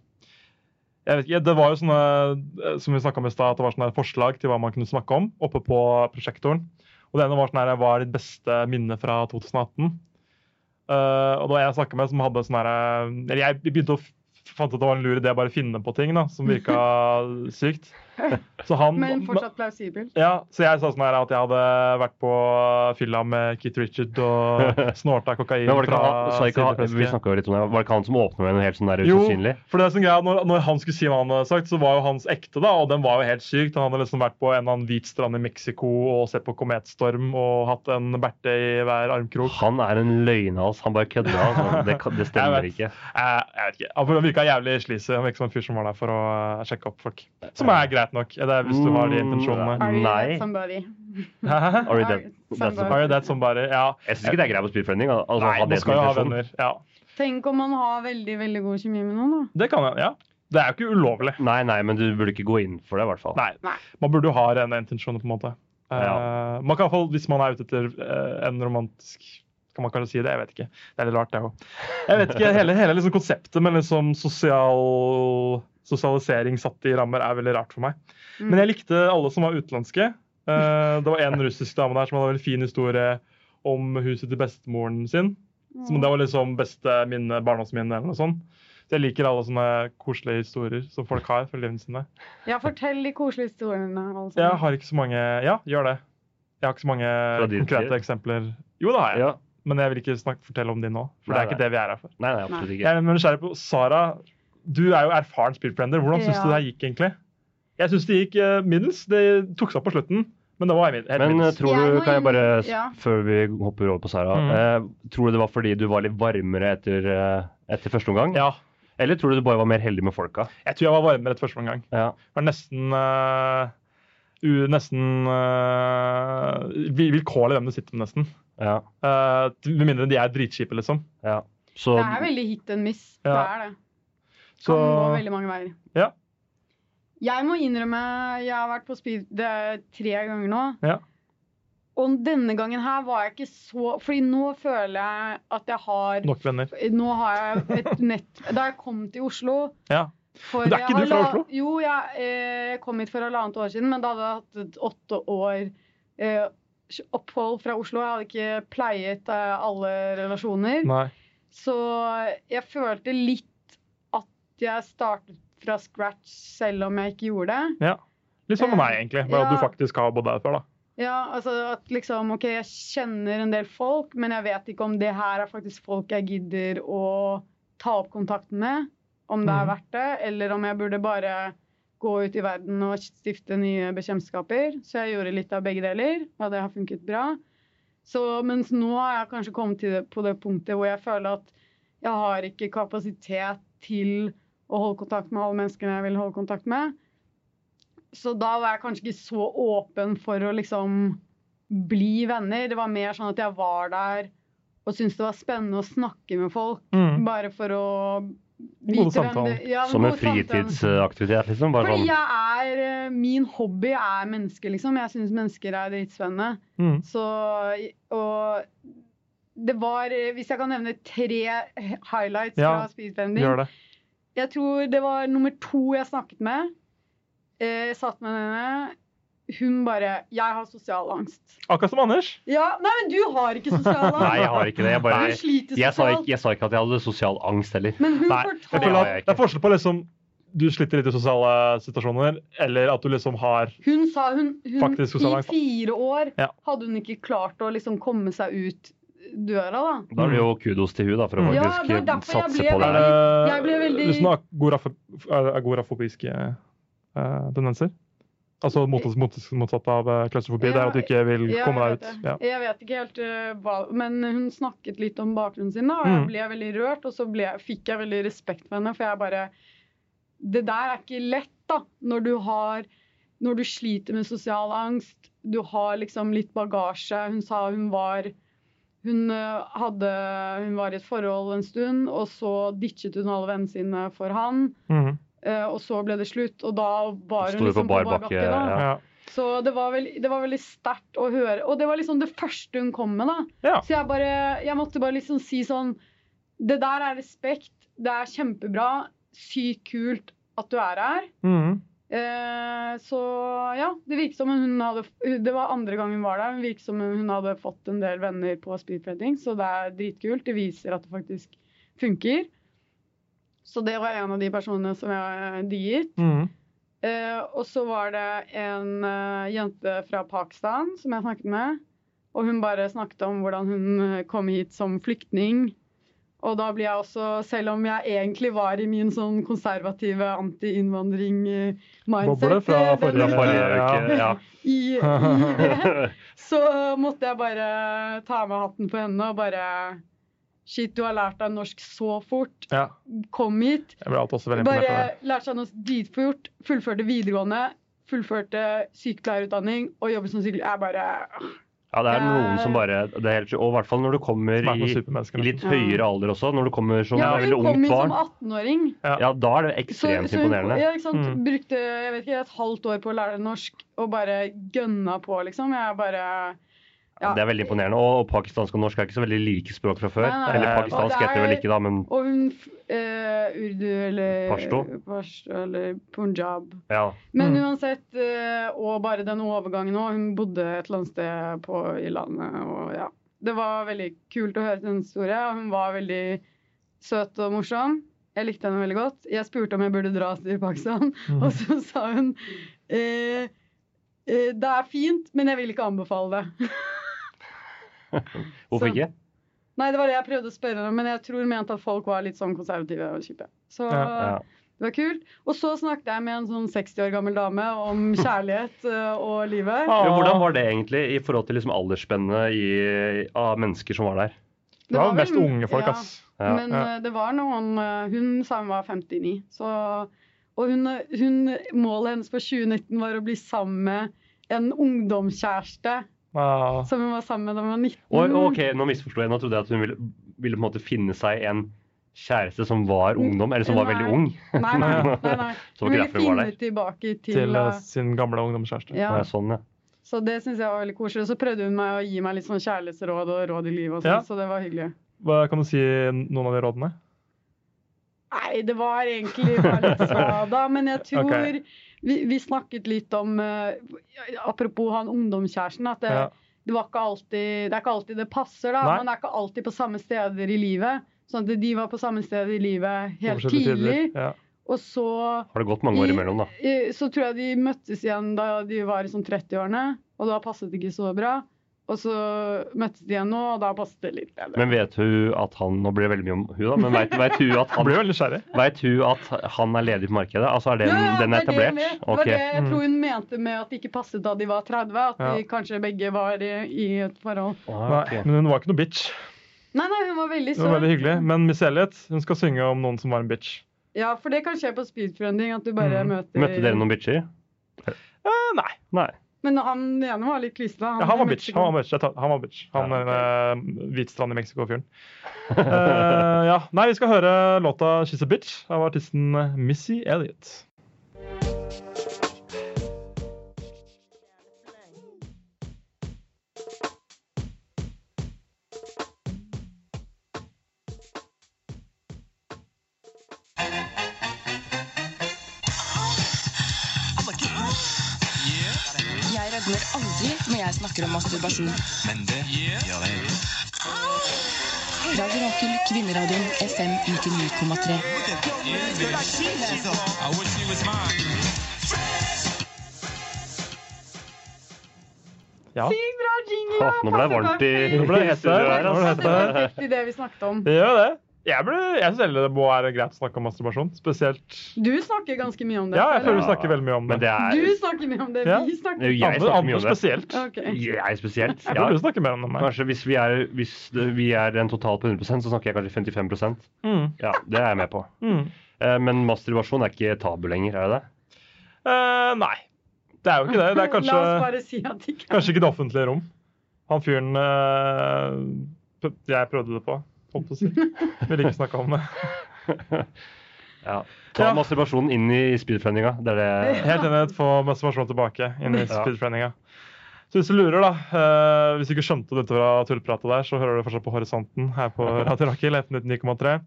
Speaker 2: jeg vet ikke, Det var jo sånne eh, som vi snakket om i sted, at det var sånne forslag til hva man kunne snakke om oppe på prosjektoren. Og det ene var sånn her, hva er ditt beste minne fra 2018? Eh, og det var jeg snakket med som hadde sånn her eh, Eller jeg begynte å f- fant ut at det var en lur idé å bare finne på ting da, som virka sykt. Så han,
Speaker 4: Men fortsatt plausibelt.
Speaker 2: Ja, så jeg sa sånn her at jeg hadde vært på fylla med Keith Richard og snorta kokain
Speaker 3: Men var det ikke
Speaker 2: fra
Speaker 3: han, sa ikke han, vi
Speaker 2: sideflesket.
Speaker 3: snakket jo litt om det. Var det ikke han som åpnet med noe helt sånn der
Speaker 2: Jo,
Speaker 3: usannsynlig?
Speaker 2: for det er sånn greia, at når, når han skulle si hva han hadde sagt, så var jo hans ekte, da, og den var jo helt sykt. Han hadde liksom vært på en eller annen hvit strand i Mexico og sett på kometstorm og hatt en berte i hver armkrok.
Speaker 3: Han er en løgnhals. Han bare kødder. Altså. Det, kan- det stemmer
Speaker 2: Jeg
Speaker 3: ikke.
Speaker 2: Jeg, Eh, jeg vet ikke. Han for- han virka jævlig sleazy. Han virka som en fyr som var der for å eh, sjekke opp folk. Som er greit nok, er det, hvis du har de
Speaker 3: Mm,
Speaker 2: intensjonene.
Speaker 3: ja.
Speaker 4: Are you
Speaker 3: Nei.
Speaker 4: that somebody?
Speaker 2: Hæ?
Speaker 3: Are you
Speaker 4: Are
Speaker 3: that-
Speaker 4: you
Speaker 3: that's
Speaker 4: somebody?
Speaker 2: Are you that somebody? Ja.
Speaker 3: Jeg syns ikke det er greit på speedfriending. al- Altså,
Speaker 2: Nei,
Speaker 3: ha det
Speaker 2: man
Speaker 3: som
Speaker 2: skal jo ha
Speaker 3: intensjon.
Speaker 2: venner. Ja.
Speaker 4: Tenk om man har veldig veldig god kjemi med noen, da.
Speaker 2: Det kan jeg, ja. Det er jo ikke ulovlig.
Speaker 3: Nei, nei, men du burde ikke gå inn for det, i hvert fall.
Speaker 2: Nei.
Speaker 4: Nei.
Speaker 2: Man burde jo ha rene intensjoner, på en måte. Eh, man kan i hvert fall, Hvis man er ute etter eh, en romantisk Kan man kanskje si det? Jeg vet ikke. Det er litt rart, det òg. Jeg vet ikke, Hele, hele liksom konseptet med liksom sosial, sosialisering satt i rammer er veldig rart for meg.
Speaker 4: Mm.
Speaker 2: Men jeg likte alle som var utenlandske. Eh, det var en russisk dame der som hadde en veldig fin historie om huset til bestemoren sin. Som det var liksom beste minne, barndomsminne eller noe sånt. Så jeg liker alle sånne koselige historier som folk har fra livene sine.
Speaker 4: Ja, fortell de koselige historiene. Altså.
Speaker 2: Jeg har ikke så mange Ja, gjør det. Jeg har ikke så mange
Speaker 3: din
Speaker 2: konkrete
Speaker 3: tid?
Speaker 2: eksempler. Jo, det har jeg,
Speaker 3: Ja.
Speaker 2: men jeg vil ikke snakke, fortelle om de nå. For det
Speaker 3: Nei,
Speaker 2: er ikke
Speaker 3: nei.
Speaker 2: det vi er her for.
Speaker 3: nei, nei absolutt ikke.
Speaker 2: Jeg er nysgjerrig på Sara, du er jo erfaren spillfriender. Hvordan syns
Speaker 4: Ja.
Speaker 2: du det her gikk, egentlig? Jeg syns det gikk eh, middels. Det tok seg opp på slutten. Men det var helt
Speaker 3: Men eh,
Speaker 2: middels.
Speaker 3: tror
Speaker 4: Jeg
Speaker 3: du,
Speaker 4: må
Speaker 3: kan jeg
Speaker 4: inn-
Speaker 3: bare,
Speaker 4: ja.
Speaker 3: før vi hopper over på Sara,
Speaker 2: Mm.
Speaker 3: eh, tror du det var fordi du var litt varmere etter, eh, etter første omgang?
Speaker 2: Ja.
Speaker 3: Eller tror du du bare var mer heldig med folka?
Speaker 2: Jeg tror jeg var varmere etter første omgang.
Speaker 3: Ja.
Speaker 2: Var nesten eh, u, Nesten eh, vil- vilkårlig hvem du sitter med, nesten.
Speaker 3: ja,
Speaker 2: Eh, med mindre de er dritkjipe, liksom.
Speaker 3: ja. Så,
Speaker 4: Det er veldig hit and miss. Det
Speaker 2: Ja.
Speaker 4: er det.
Speaker 2: Så
Speaker 4: Kan gå veldig mange veier.
Speaker 2: Ja.
Speaker 4: Jeg må innrømme, jeg har vært på speed det er tre ganger nå.
Speaker 2: Ja.
Speaker 4: Og denne gangen her var jeg ikke så Fordi nå føler jeg at jeg har
Speaker 2: nok venner.
Speaker 4: Nå har jeg et nett Da jeg kom til Oslo
Speaker 2: Ja.
Speaker 4: for
Speaker 2: Men det er ikke du fra
Speaker 4: halva-
Speaker 2: Oslo?
Speaker 4: Jo, jeg eh, kom hit for halvannet år siden, men da hadde jeg hatt et åtte år eh, opphold fra Oslo. Jeg hadde ikke pleiet eh, alle relasjoner.
Speaker 2: Nei.
Speaker 4: Så jeg følte litt at jeg startet fra scratch, selv om jeg ikke gjorde det.
Speaker 2: Litt sånn med meg, egentlig. Bare at du
Speaker 4: Eh, Ja.
Speaker 2: faktisk har bodd her før, da.
Speaker 4: Ja, altså at liksom, ok, Jeg kjenner en del folk, men jeg vet ikke om det her er faktisk folk jeg gidder å ta opp kontakten med. Om det er
Speaker 2: Mhm.
Speaker 4: verdt det, eller om jeg burde bare gå ut i verden og stifte nye bekjentskaper. Så jeg gjorde litt av begge deler, og det har funket bra. Så, mens nå har jeg kanskje kommet til det, på det punktet hvor jeg føler at jeg har ikke kapasitet til å holde kontakt med alle menneskene jeg vil holde kontakt med. Så da var jeg kanskje ikke så åpen for å liksom bli venner. Det var mer sånn at jeg var der og syntes det var spennende å snakke med folk.
Speaker 2: Mm.
Speaker 4: Bare for å
Speaker 2: Gode
Speaker 4: vite hvem det
Speaker 2: samtaler.
Speaker 4: ja,
Speaker 3: som en
Speaker 4: gode samtaler.
Speaker 3: fritidsaktivitet, liksom? Bare
Speaker 4: Fordi
Speaker 3: sånn
Speaker 4: jeg er, eh, min hobby er mennesker, liksom. Jeg syns mennesker er dritspennende.
Speaker 2: Mm.
Speaker 4: Så, og det var, eh, hvis jeg kan nevne tre highlights
Speaker 2: Ja,
Speaker 4: fra speedbending
Speaker 2: Gjør det.
Speaker 4: Jeg tror det var nummer to jeg snakket med. Eh, Jeg satt med henne. Hun bare 'Jeg har sosial angst'.
Speaker 2: Akkurat som Anders.
Speaker 4: Ja, nei, men du har ikke sosial angst.
Speaker 3: Nei, jeg har ikke det. Jeg, bare,
Speaker 4: Du sliter
Speaker 3: jeg, sa,
Speaker 4: sosialt.
Speaker 3: ikke, jeg sa ikke at jeg hadde sosial angst heller.
Speaker 4: Men hun
Speaker 2: Nei, jeg
Speaker 3: det
Speaker 2: føler
Speaker 4: fortalte
Speaker 3: har
Speaker 2: at
Speaker 3: jeg ikke.
Speaker 2: Det er forskjell på liksom du sliter litt i sosiale situasjoner, eller at du liksom har
Speaker 4: Hun sa hun, hun
Speaker 2: Faktisk sosial
Speaker 4: i
Speaker 2: angst.
Speaker 4: fire år
Speaker 2: Ja.
Speaker 4: hadde hun ikke klart å liksom komme seg ut døra, da.
Speaker 3: Da er det jo kudos til hun da, for å
Speaker 2: Mm.
Speaker 4: Ja, det
Speaker 3: faktisk
Speaker 4: var derfor jeg
Speaker 3: satse
Speaker 4: ble
Speaker 3: på det.
Speaker 2: Er
Speaker 3: her.
Speaker 2: det
Speaker 4: Jeg ble veldig-
Speaker 2: liksom agorafo- er- agorafobiske eh, tendenser? Altså motsatt, motsatt, motsatt av eh, klaustrofobi. Det er at du ikke vil
Speaker 4: Ja,
Speaker 2: komme
Speaker 4: jeg
Speaker 2: deg ut.
Speaker 4: vet
Speaker 2: Ja.
Speaker 4: det. Jeg vet ikke helt eh, hva Men hun snakket litt om bakgrunnen sin, da, og
Speaker 2: Mm.
Speaker 4: jeg ble veldig rørt. Og så ble, fikk jeg veldig respekt for henne, for jeg bare Det der er ikke lett, da. Når du har Når du sliter med sosial angst, du har liksom litt bagasje. Hun sa hun var hun, eh, hadde, hun var i et forhold en stund, og så ditchet hun alle vennene sine for han.
Speaker 2: Mhm.
Speaker 4: eh, Og så ble det slutt, og da var
Speaker 3: Sto
Speaker 4: hun
Speaker 3: jo på
Speaker 4: liksom på
Speaker 3: bar
Speaker 4: bar
Speaker 3: bakke,
Speaker 4: bakke. da.
Speaker 3: Ja.
Speaker 2: Ja.
Speaker 4: Så det var, vel, det var veldig sterkt å høre. Og det var liksom det første hun kom med, da.
Speaker 2: Ja.
Speaker 4: Så jeg bare Jeg måtte bare liksom si sånn Det der er respekt. Det er kjempebra. Sykt kult at du er her.
Speaker 2: Mhm.
Speaker 4: Eh, så ja, det virket som hun hadde Det var andre gang hun var der. Hun virket som hun hadde fått en del venner på speedfredding, så det er dritkult. Det viser at det faktisk funker. Så det var en av de personene som jeg digget.
Speaker 2: Mhm.
Speaker 4: Eh, og så var det en eh, jente fra Pakistan som jeg snakket med. Og hun bare snakket om hvordan hun eh, kom hit som flyktning. Og da blir jeg også, selv om jeg egentlig var i min sånn konservative
Speaker 2: Boble
Speaker 4: anti-innvandring-mindset
Speaker 2: fra
Speaker 4: eh,
Speaker 2: forrige-
Speaker 4: den-
Speaker 3: Fra forrige
Speaker 2: Ja.
Speaker 3: uke, ja.
Speaker 4: i, i det, så måtte jeg bare ta av meg hatten på henne og bare Shit, du har lært deg norsk så fort.
Speaker 2: ja.
Speaker 4: Kom hit.
Speaker 2: Jeg ble alt også veldig imponert
Speaker 4: Bare
Speaker 2: over det.
Speaker 4: lærte seg noe dritfort, fullførte videregående, fullførte sykepleierutdanning og jobbet som sykepleier. Jeg bare
Speaker 3: ja, det er noen som bare det er helt, Og i hvert fall når du kommer
Speaker 2: Som er sånn
Speaker 3: i,
Speaker 2: noen supermennesker,
Speaker 3: i litt høyere alder også, når du kommer som
Speaker 4: Ja,
Speaker 3: veldig
Speaker 4: hun kom
Speaker 3: ungt
Speaker 4: inn som
Speaker 3: barn.
Speaker 4: 18-åring.
Speaker 3: Ja, da er det
Speaker 4: Så,
Speaker 3: ekstremt
Speaker 4: så hun
Speaker 3: imponerende.
Speaker 4: ja, ikke sant?
Speaker 2: Mm.
Speaker 4: brukte jeg vet ikke, et halvt år på å lære norsk og bare gønna på, liksom. Jeg bare ja.
Speaker 3: Det er veldig imponerende. Og, og pakistansk og norsk er ikke så veldig like språk fra før.
Speaker 4: Nei, nei, nei.
Speaker 3: Eller
Speaker 2: Og
Speaker 3: pakistansk
Speaker 4: det er-
Speaker 3: heter det vel ikke, da, men
Speaker 4: Og hun f- eh, urdu eller
Speaker 3: Pashto.
Speaker 4: Pashto eller punjab.
Speaker 3: ja.
Speaker 4: Men
Speaker 2: Mm.
Speaker 4: uansett, eh, og bare den overgangen òg. Hun bodde et eller annet sted på, i landet. Og ja. Det var veldig kult å høre sin historie. Og hun var veldig søt og morsom. Jeg likte henne veldig godt. Jeg spurte om jeg burde dra til Pakistan,
Speaker 2: Mm. Mhm.
Speaker 4: og så sa hun eh, eh, Det er fint, men jeg vil ikke anbefale det.
Speaker 3: Hvorfor
Speaker 4: Så-
Speaker 3: ikke?
Speaker 4: Nei, det var det jeg prøvde å spørre henne om, men jeg tror hun mente at folk var litt sånn konservative og kjipe. Så
Speaker 2: Ja,
Speaker 3: Ja.
Speaker 4: Det var kult. Og så snakket jeg med en sånn 60 år gammel dame om kjærlighet eh, og livet.
Speaker 2: Ah,
Speaker 3: Men hvordan var det egentlig i forhold til liksom aldersspennet i- av mennesker som var der?
Speaker 2: Det var
Speaker 4: vel-
Speaker 2: mest unge folk,
Speaker 4: ja.
Speaker 2: ass.
Speaker 3: Ja.
Speaker 4: Men
Speaker 2: Ja.
Speaker 4: eh, det var noen eh, Hun sa hun var 59. Så, og hun, eh, hun, målet hennes for 2019 var å bli sammen med en ungdomskjæreste
Speaker 2: Ah.
Speaker 4: som hun var sammen med da hun var 19.
Speaker 3: Og, og ok, Nå misforsto jeg. Nå trodde jeg at hun ville, ville på en måte finne seg en kjæreste som var ungdom, eller som var veldig ung.
Speaker 4: Nei, nei, nei, nei.
Speaker 3: Så
Speaker 4: Hun
Speaker 3: det var
Speaker 4: ville
Speaker 3: ikke derfor hun var
Speaker 4: finne
Speaker 3: der.
Speaker 4: tilbake til,
Speaker 2: Til eh,
Speaker 4: eh,
Speaker 2: sin gamle ungdomskjæreste.
Speaker 4: ja.
Speaker 3: Nei, sånn, ja.
Speaker 4: Så det syns jeg var veldig koselig. Og så prøvde hun meg å gi meg litt sånn kjærlighetsråd og råd i livet, og sånn,
Speaker 2: Ja.
Speaker 4: så det var hyggelig.
Speaker 2: Hva Kan du si noen av de rådene?
Speaker 4: Nei, det var egentlig bare litt svada, men jeg tror
Speaker 2: Ok.
Speaker 4: vi, vi snakket litt om eh, Apropos han ungdomskjæresten, at det,
Speaker 2: Ja.
Speaker 4: det, var ikke alltid, det er ikke alltid det passer. da,
Speaker 2: Nei.
Speaker 4: Man er ikke alltid på samme steder i livet. Sånn at de var på samme sted i livet helt
Speaker 2: Forskjellige tider.
Speaker 4: tidlig.
Speaker 2: Ja.
Speaker 4: Og så,
Speaker 3: Har det gått mange år
Speaker 4: I-
Speaker 3: imellom, da?
Speaker 4: eh, så tror jeg de møttes igjen da de var i sånn 30-årene, og da passet det ikke så bra. Og så møttes de igjen nå, og da passet det litt bedre.
Speaker 3: Men vet hun at han Nå blir det veldig mye om hun, da. Men vet, vet, hun at
Speaker 2: Han
Speaker 3: han,
Speaker 2: blir veldig nysgjerrig.
Speaker 3: vet hun at han er ledig på markedet? Altså, er den,
Speaker 4: Ja, ja,
Speaker 3: den er
Speaker 4: det er det jeg
Speaker 3: etablert?
Speaker 4: vet. Det var
Speaker 3: Ok.
Speaker 4: det jeg tror hun mente med at det ikke passet da de var 30, at
Speaker 2: Mm. Ja.
Speaker 4: de kanskje begge var i, i et forhold.
Speaker 3: Ah,
Speaker 2: Nei,
Speaker 3: ok.
Speaker 2: men hun var ikke noe bitch.
Speaker 4: Nei, nei, hun var veldig
Speaker 2: Hun var
Speaker 4: søt.
Speaker 2: veldig hyggelig. Men Miss Elliot hun skal synge om noen som var en bitch.
Speaker 4: Ja, for det kan skje på speedfriending, at du bare
Speaker 2: Mm.
Speaker 4: møter
Speaker 3: Møtte dere noen bitcher?
Speaker 2: Eh, nei.
Speaker 3: Nei.
Speaker 4: Men han ene var litt klistra.
Speaker 2: Ja, han var
Speaker 4: i
Speaker 2: bitch.
Speaker 4: Mexico.
Speaker 2: Han var bitch. Jeg tar- Han var bitch. Han
Speaker 3: Ja,
Speaker 2: er eh, Hvitstrand i Mexicofjorden. Eh, ja. Nei, vi skal høre låta 'She's a Bitch' av artisten Missy Elliot.
Speaker 9: Jeg rødmer aldri når jeg snakker om masturbasjon. Men det gjør jeg. Radio Rakel, Kvinneradioen, FM 99,3.
Speaker 2: Ja.
Speaker 4: Sykt bra jingle!
Speaker 3: Åh, nå ble det
Speaker 4: passer
Speaker 3: varmt i
Speaker 2: Nå ble det hett her.
Speaker 3: her,
Speaker 2: Nå ble det
Speaker 3: altså.
Speaker 2: hett
Speaker 4: perfekt. Det var
Speaker 2: her.
Speaker 4: perfekt i det vi snakket om.
Speaker 2: Det gjør det. Jeg, ble, jeg synes heller det må være greit å snakke om masturbasjon. Spesielt
Speaker 4: Du snakker ganske mye om det.
Speaker 2: Ja, jeg føler
Speaker 4: eller?
Speaker 2: vi snakker veldig mye om
Speaker 3: Men
Speaker 2: det.
Speaker 3: det er
Speaker 4: Du snakker mye om det.
Speaker 2: Ja.
Speaker 4: Vi
Speaker 3: det er
Speaker 4: snakker
Speaker 3: jo jeg
Speaker 2: Anders-
Speaker 3: snakker mye
Speaker 2: Anders
Speaker 3: om det.
Speaker 2: spesielt.
Speaker 4: Ok.
Speaker 3: Jeg spesielt.
Speaker 2: Jeg
Speaker 3: Ja.
Speaker 2: tror du snakker mer om det enn meg.
Speaker 3: Kanskje hvis vi er, hvis det- vi er en total på 100 så snakker jeg kanskje 55
Speaker 2: Mm,
Speaker 3: Ja, det er jeg med på.
Speaker 2: mm.
Speaker 3: Eh, Men masturbasjon er ikke tabu lenger, er det det?
Speaker 2: Eh, nei. Det er jo ikke det. Det er kanskje,
Speaker 4: La oss bare si at det ikke
Speaker 2: kanskje ikke det offentlige rom. Han fyren eh, p- jeg prøvde det på, holdt på å si. Vil ikke snakke om det.
Speaker 3: Ja. Ta
Speaker 2: Ja.
Speaker 3: masturbasjonen inn i speedfundinga. Det er det
Speaker 2: Helt enig. Få masturbasjon tilbake inn i
Speaker 3: Ja.
Speaker 2: speedtraininga. Så hvis du lurer, da eh, Hvis du ikke skjønte dette fra tullpratet der, så hører du fortsatt på Horisonten her på Radio Rakel, FM 99,3.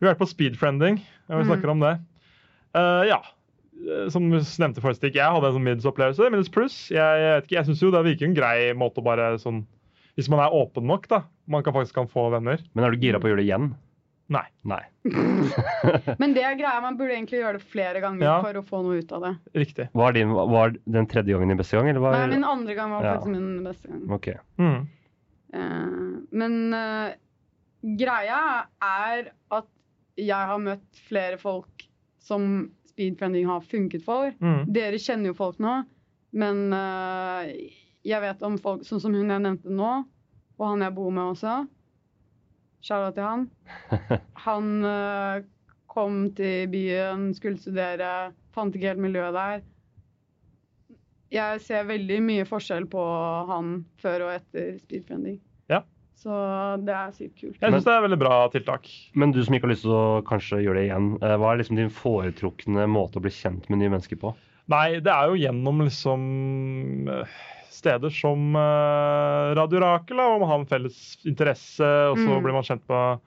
Speaker 2: Vi har vært på speedfriending, og vi snakker om det. Eh, ja. Eh, Som du nevnte forrige stikk, jeg hadde en sånn middels-opplevelse. Middels pluss. Jeg, jeg vet ikke, jeg syns jo det virker en grei måte å bare sånn Hvis man er åpen nok, da. Man kan faktisk kan få venner.
Speaker 3: Men er du gira på å gjøre det igjen?
Speaker 2: Nei.
Speaker 3: Nei.
Speaker 4: Men det er greia, man burde egentlig gjøre det flere ganger
Speaker 2: Ja.
Speaker 4: for å få noe ut av det.
Speaker 2: Riktig.
Speaker 3: Var, din, var den tredje gangen din beste gang, eller var
Speaker 4: Nei, min andre gang var
Speaker 3: Ja.
Speaker 4: faktisk min beste gang.
Speaker 3: Ok.
Speaker 2: Mm.
Speaker 4: Eh, men eh, greia er at jeg har møtt flere folk som speedfriending har funket for.
Speaker 2: Mm.
Speaker 4: Dere kjenner jo folk nå, men eh, jeg vet om folk sånn som hun jeg nevnte nå, og han jeg bor med også. Charlotte til han. Han eh, kom til byen, skulle studere, fant ikke helt miljøet der. Jeg ser veldig mye forskjell på han før og etter speedfriending.
Speaker 2: Ja.
Speaker 4: Så det er sykt kult.
Speaker 2: Jeg
Speaker 3: Men-
Speaker 2: syns det er veldig bra tiltak.
Speaker 3: Men du som ikke har lyst til å kanskje gjøre det igjen, eh, hva er liksom din foretrukne måte å bli kjent med nye mennesker på?
Speaker 2: Nei, det er jo gjennom liksom eh, steder som eh, Radio Rakel, da, hvor man har en felles interesse, og så
Speaker 4: Mm.
Speaker 2: blir man kjent med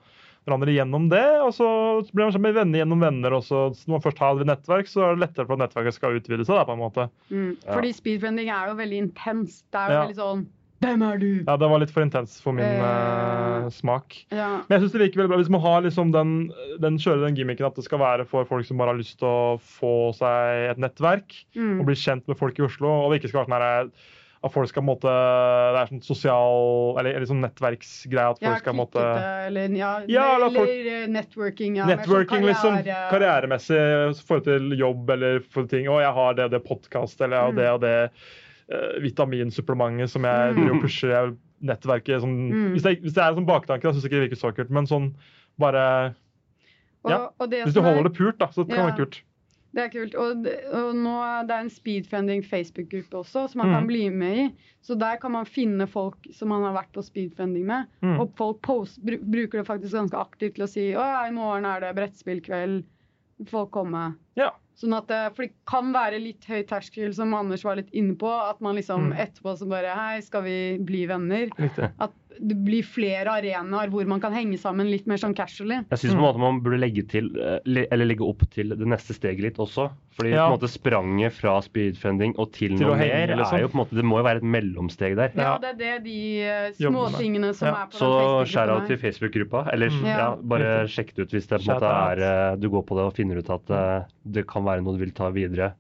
Speaker 2: hverandre gjennom det, og så blir man kjent med venner gjennom venner, og så når man først har et nettverk, så er det lettere for at nettverket skal utvide seg, da, på en måte.
Speaker 4: Mm.
Speaker 3: Ja.
Speaker 4: Fordi speedfriending er jo veldig intenst. Det er jo
Speaker 2: Ja.
Speaker 4: veldig sånn Hvem er du?
Speaker 2: Ja, det var litt for intens for min
Speaker 4: Eh.
Speaker 2: eh, smak.
Speaker 4: Ja.
Speaker 2: Men jeg synes det virker veldig bra hvis man har liksom den, den kjører den gimmicken at det skal være for folk som bare har lyst til å få seg et nettverk.
Speaker 4: Mm.
Speaker 2: og bli kjent med folk i Oslo. Og det ikke skal være sånn her At folk skal på en måte Det er sånn sosial Eller, eller sånn nettverksgreie at folk
Speaker 4: Ja,
Speaker 2: skal på en måte
Speaker 4: klikkete, eller, ja,
Speaker 2: Ja, eller
Speaker 4: eller,
Speaker 2: folk-
Speaker 4: eh, networking. Ja, mer sånn
Speaker 2: Networking, liksom.
Speaker 4: karriere-
Speaker 2: Karrieremessig i forhold til jobb eller for ting. Å, jeg har det og det podkast eller jeg har
Speaker 4: Mm.
Speaker 2: det og det eh, vitaminsupplementet som jeg
Speaker 4: Mm.
Speaker 2: driver og pusher jeg vil- nettverket sånn,
Speaker 4: Mm.
Speaker 2: hvis, det, hvis det er en sånn baktanke, da syns jeg ikke det virker så kult. Men sånn bare
Speaker 4: Og,
Speaker 2: Ja.
Speaker 4: og det
Speaker 2: Hvis du
Speaker 4: som er-
Speaker 2: holder det pult, da, så kan det
Speaker 4: Ja.
Speaker 2: være kult.
Speaker 4: Det er kult. Og, d- og nå er det en speedfriending Facebook-gruppe også, som man
Speaker 2: Mhm.
Speaker 4: kan bli med i. Så der kan man finne folk som man har vært på speedfriending med.
Speaker 2: Mm.
Speaker 4: Og folk post, bru- bruker det faktisk ganske aktivt til å si å ja, i morgen er det brettspillkveld, folk kommer.
Speaker 2: Ja.
Speaker 4: Sånn at, det- for det kan være litt høy terskel, som Anders var litt inne på, at man liksom
Speaker 2: Mm.
Speaker 4: etterpå så bare hei, skal vi bli venner?
Speaker 2: Riktig.
Speaker 4: At det blir flere arenaer hvor man kan henge sammen litt mer sånn casually.
Speaker 3: Jeg syns
Speaker 2: Mm.
Speaker 3: man burde legge til, eh, le- eller legge opp til det neste steget litt også. Fordi
Speaker 2: Ja.
Speaker 3: på en måte spranget fra speedfunding og til,
Speaker 2: Til å
Speaker 3: noe
Speaker 2: henge,
Speaker 3: mer,
Speaker 2: liksom.
Speaker 3: er jo på en måte, det må jo være et mellomsteg der.
Speaker 4: Ja,
Speaker 2: Ja.
Speaker 4: det er det de eh,
Speaker 2: Jobber med.
Speaker 4: småtingene som
Speaker 2: Ja.
Speaker 4: er på
Speaker 3: Så
Speaker 4: den
Speaker 3: skjæra
Speaker 4: Facebook-gruppen
Speaker 3: til Facebook-gruppa. Eller
Speaker 2: Mm.
Speaker 3: ja,
Speaker 4: Ja.
Speaker 3: bare sjekk det ut hvis det på en måte
Speaker 2: Shout out.
Speaker 3: er eh, Du går på det og finner ut at eh, det kan være noe du vil ta videre.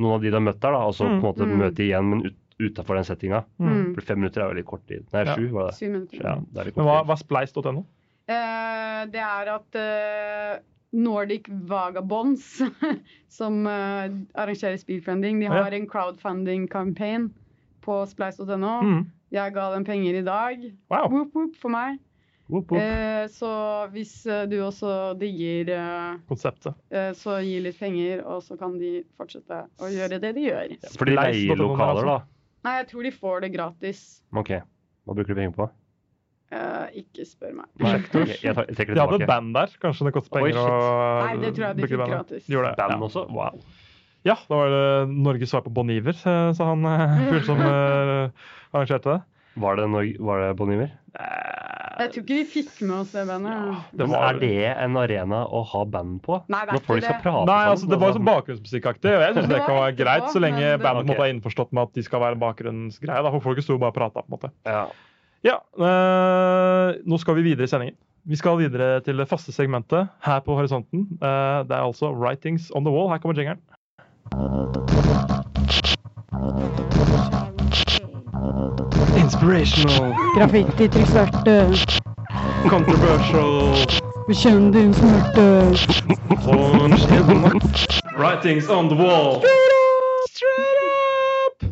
Speaker 3: Noen av de du har møtt der, da, og så på en
Speaker 2: Mm.
Speaker 3: måte
Speaker 4: Mm.
Speaker 3: møte igjen, men ut, utafor den
Speaker 4: her.
Speaker 3: settinga.
Speaker 2: Mm.
Speaker 3: For fem minutter er jo litt kort tid. Nei,
Speaker 2: Ja.
Speaker 3: sju var det.
Speaker 4: Syv minutter.
Speaker 3: Ja, det er litt
Speaker 2: Men hva,
Speaker 3: kort tid.
Speaker 2: hva er spleis.no?
Speaker 4: Eh, det er at eh, Nordic Vagabonds, som eh, arrangerer speedfriending, de
Speaker 2: Å, ja.
Speaker 4: har en crowdfunding-campaign på splice.no.
Speaker 2: Mm.
Speaker 4: Jeg ga dem penger i dag.
Speaker 2: Wow.
Speaker 4: Whoop, whoop for meg.
Speaker 2: Whoop, whoop.
Speaker 4: Eh, så hvis eh, du også digger, eh,
Speaker 2: Konseptet.
Speaker 4: eh, så gi litt penger, og så kan de fortsette å gjøre det de gjør.
Speaker 3: For de
Speaker 2: Leis.no
Speaker 3: leier
Speaker 2: der,
Speaker 3: lokaler, da.
Speaker 2: altså.
Speaker 4: Nei, jeg tror de får det gratis.
Speaker 3: OK. Hva bruker du penger på?
Speaker 4: Eh, ikke spør meg.
Speaker 3: Nei, ok, jeg, tar, jeg trekker
Speaker 2: De
Speaker 3: det
Speaker 2: hadde
Speaker 3: tilbake.
Speaker 2: band der. Kanskje det koster
Speaker 3: Oi,
Speaker 2: penger
Speaker 3: shit.
Speaker 2: å
Speaker 4: Nei, det tror jeg de
Speaker 2: bruke
Speaker 4: fikk
Speaker 2: bandet.
Speaker 4: gratis.
Speaker 2: De gjorde det, ja.
Speaker 3: Band også? Wow.
Speaker 2: Ja, da var det Norges svar på Bon Iver, eh, sa han eh, fyren som eh, arrangerte det.
Speaker 3: Var det, Norge, var det Bon Iver?
Speaker 4: Jeg tror ikke vi fikk med oss det bandet.
Speaker 2: Det
Speaker 3: Men
Speaker 2: var-
Speaker 3: Er det en arena å ha band på?
Speaker 4: Nei, vet
Speaker 3: Når folk
Speaker 4: du
Speaker 3: skal
Speaker 4: det?
Speaker 3: prate
Speaker 2: Nei,
Speaker 3: sammen,
Speaker 2: altså det var
Speaker 3: altså.
Speaker 2: sånn bakgrunnsmusikkaktig, og jeg syns det
Speaker 4: Det var
Speaker 2: kan være
Speaker 4: etterpå,
Speaker 2: greit så lenge
Speaker 4: men det-
Speaker 2: bandet på en måte
Speaker 3: Ok.
Speaker 2: er innforstått med at de skal være bakgrunnsgreie. Da, for folk sto jo bare og prata, på en måte.
Speaker 3: Ja.
Speaker 2: Ja, eh, nå skal vi videre i sendingen. Vi skal videre til det faste segmentet her på horisonten. Eh, det er altså Writings on the Wall. Her kommer jingeren. Inspirational.
Speaker 10: Graffiti, trykksverte,
Speaker 2: Controversial.
Speaker 10: bekjenn din smerte.
Speaker 2: Writings on the wall. Straight up!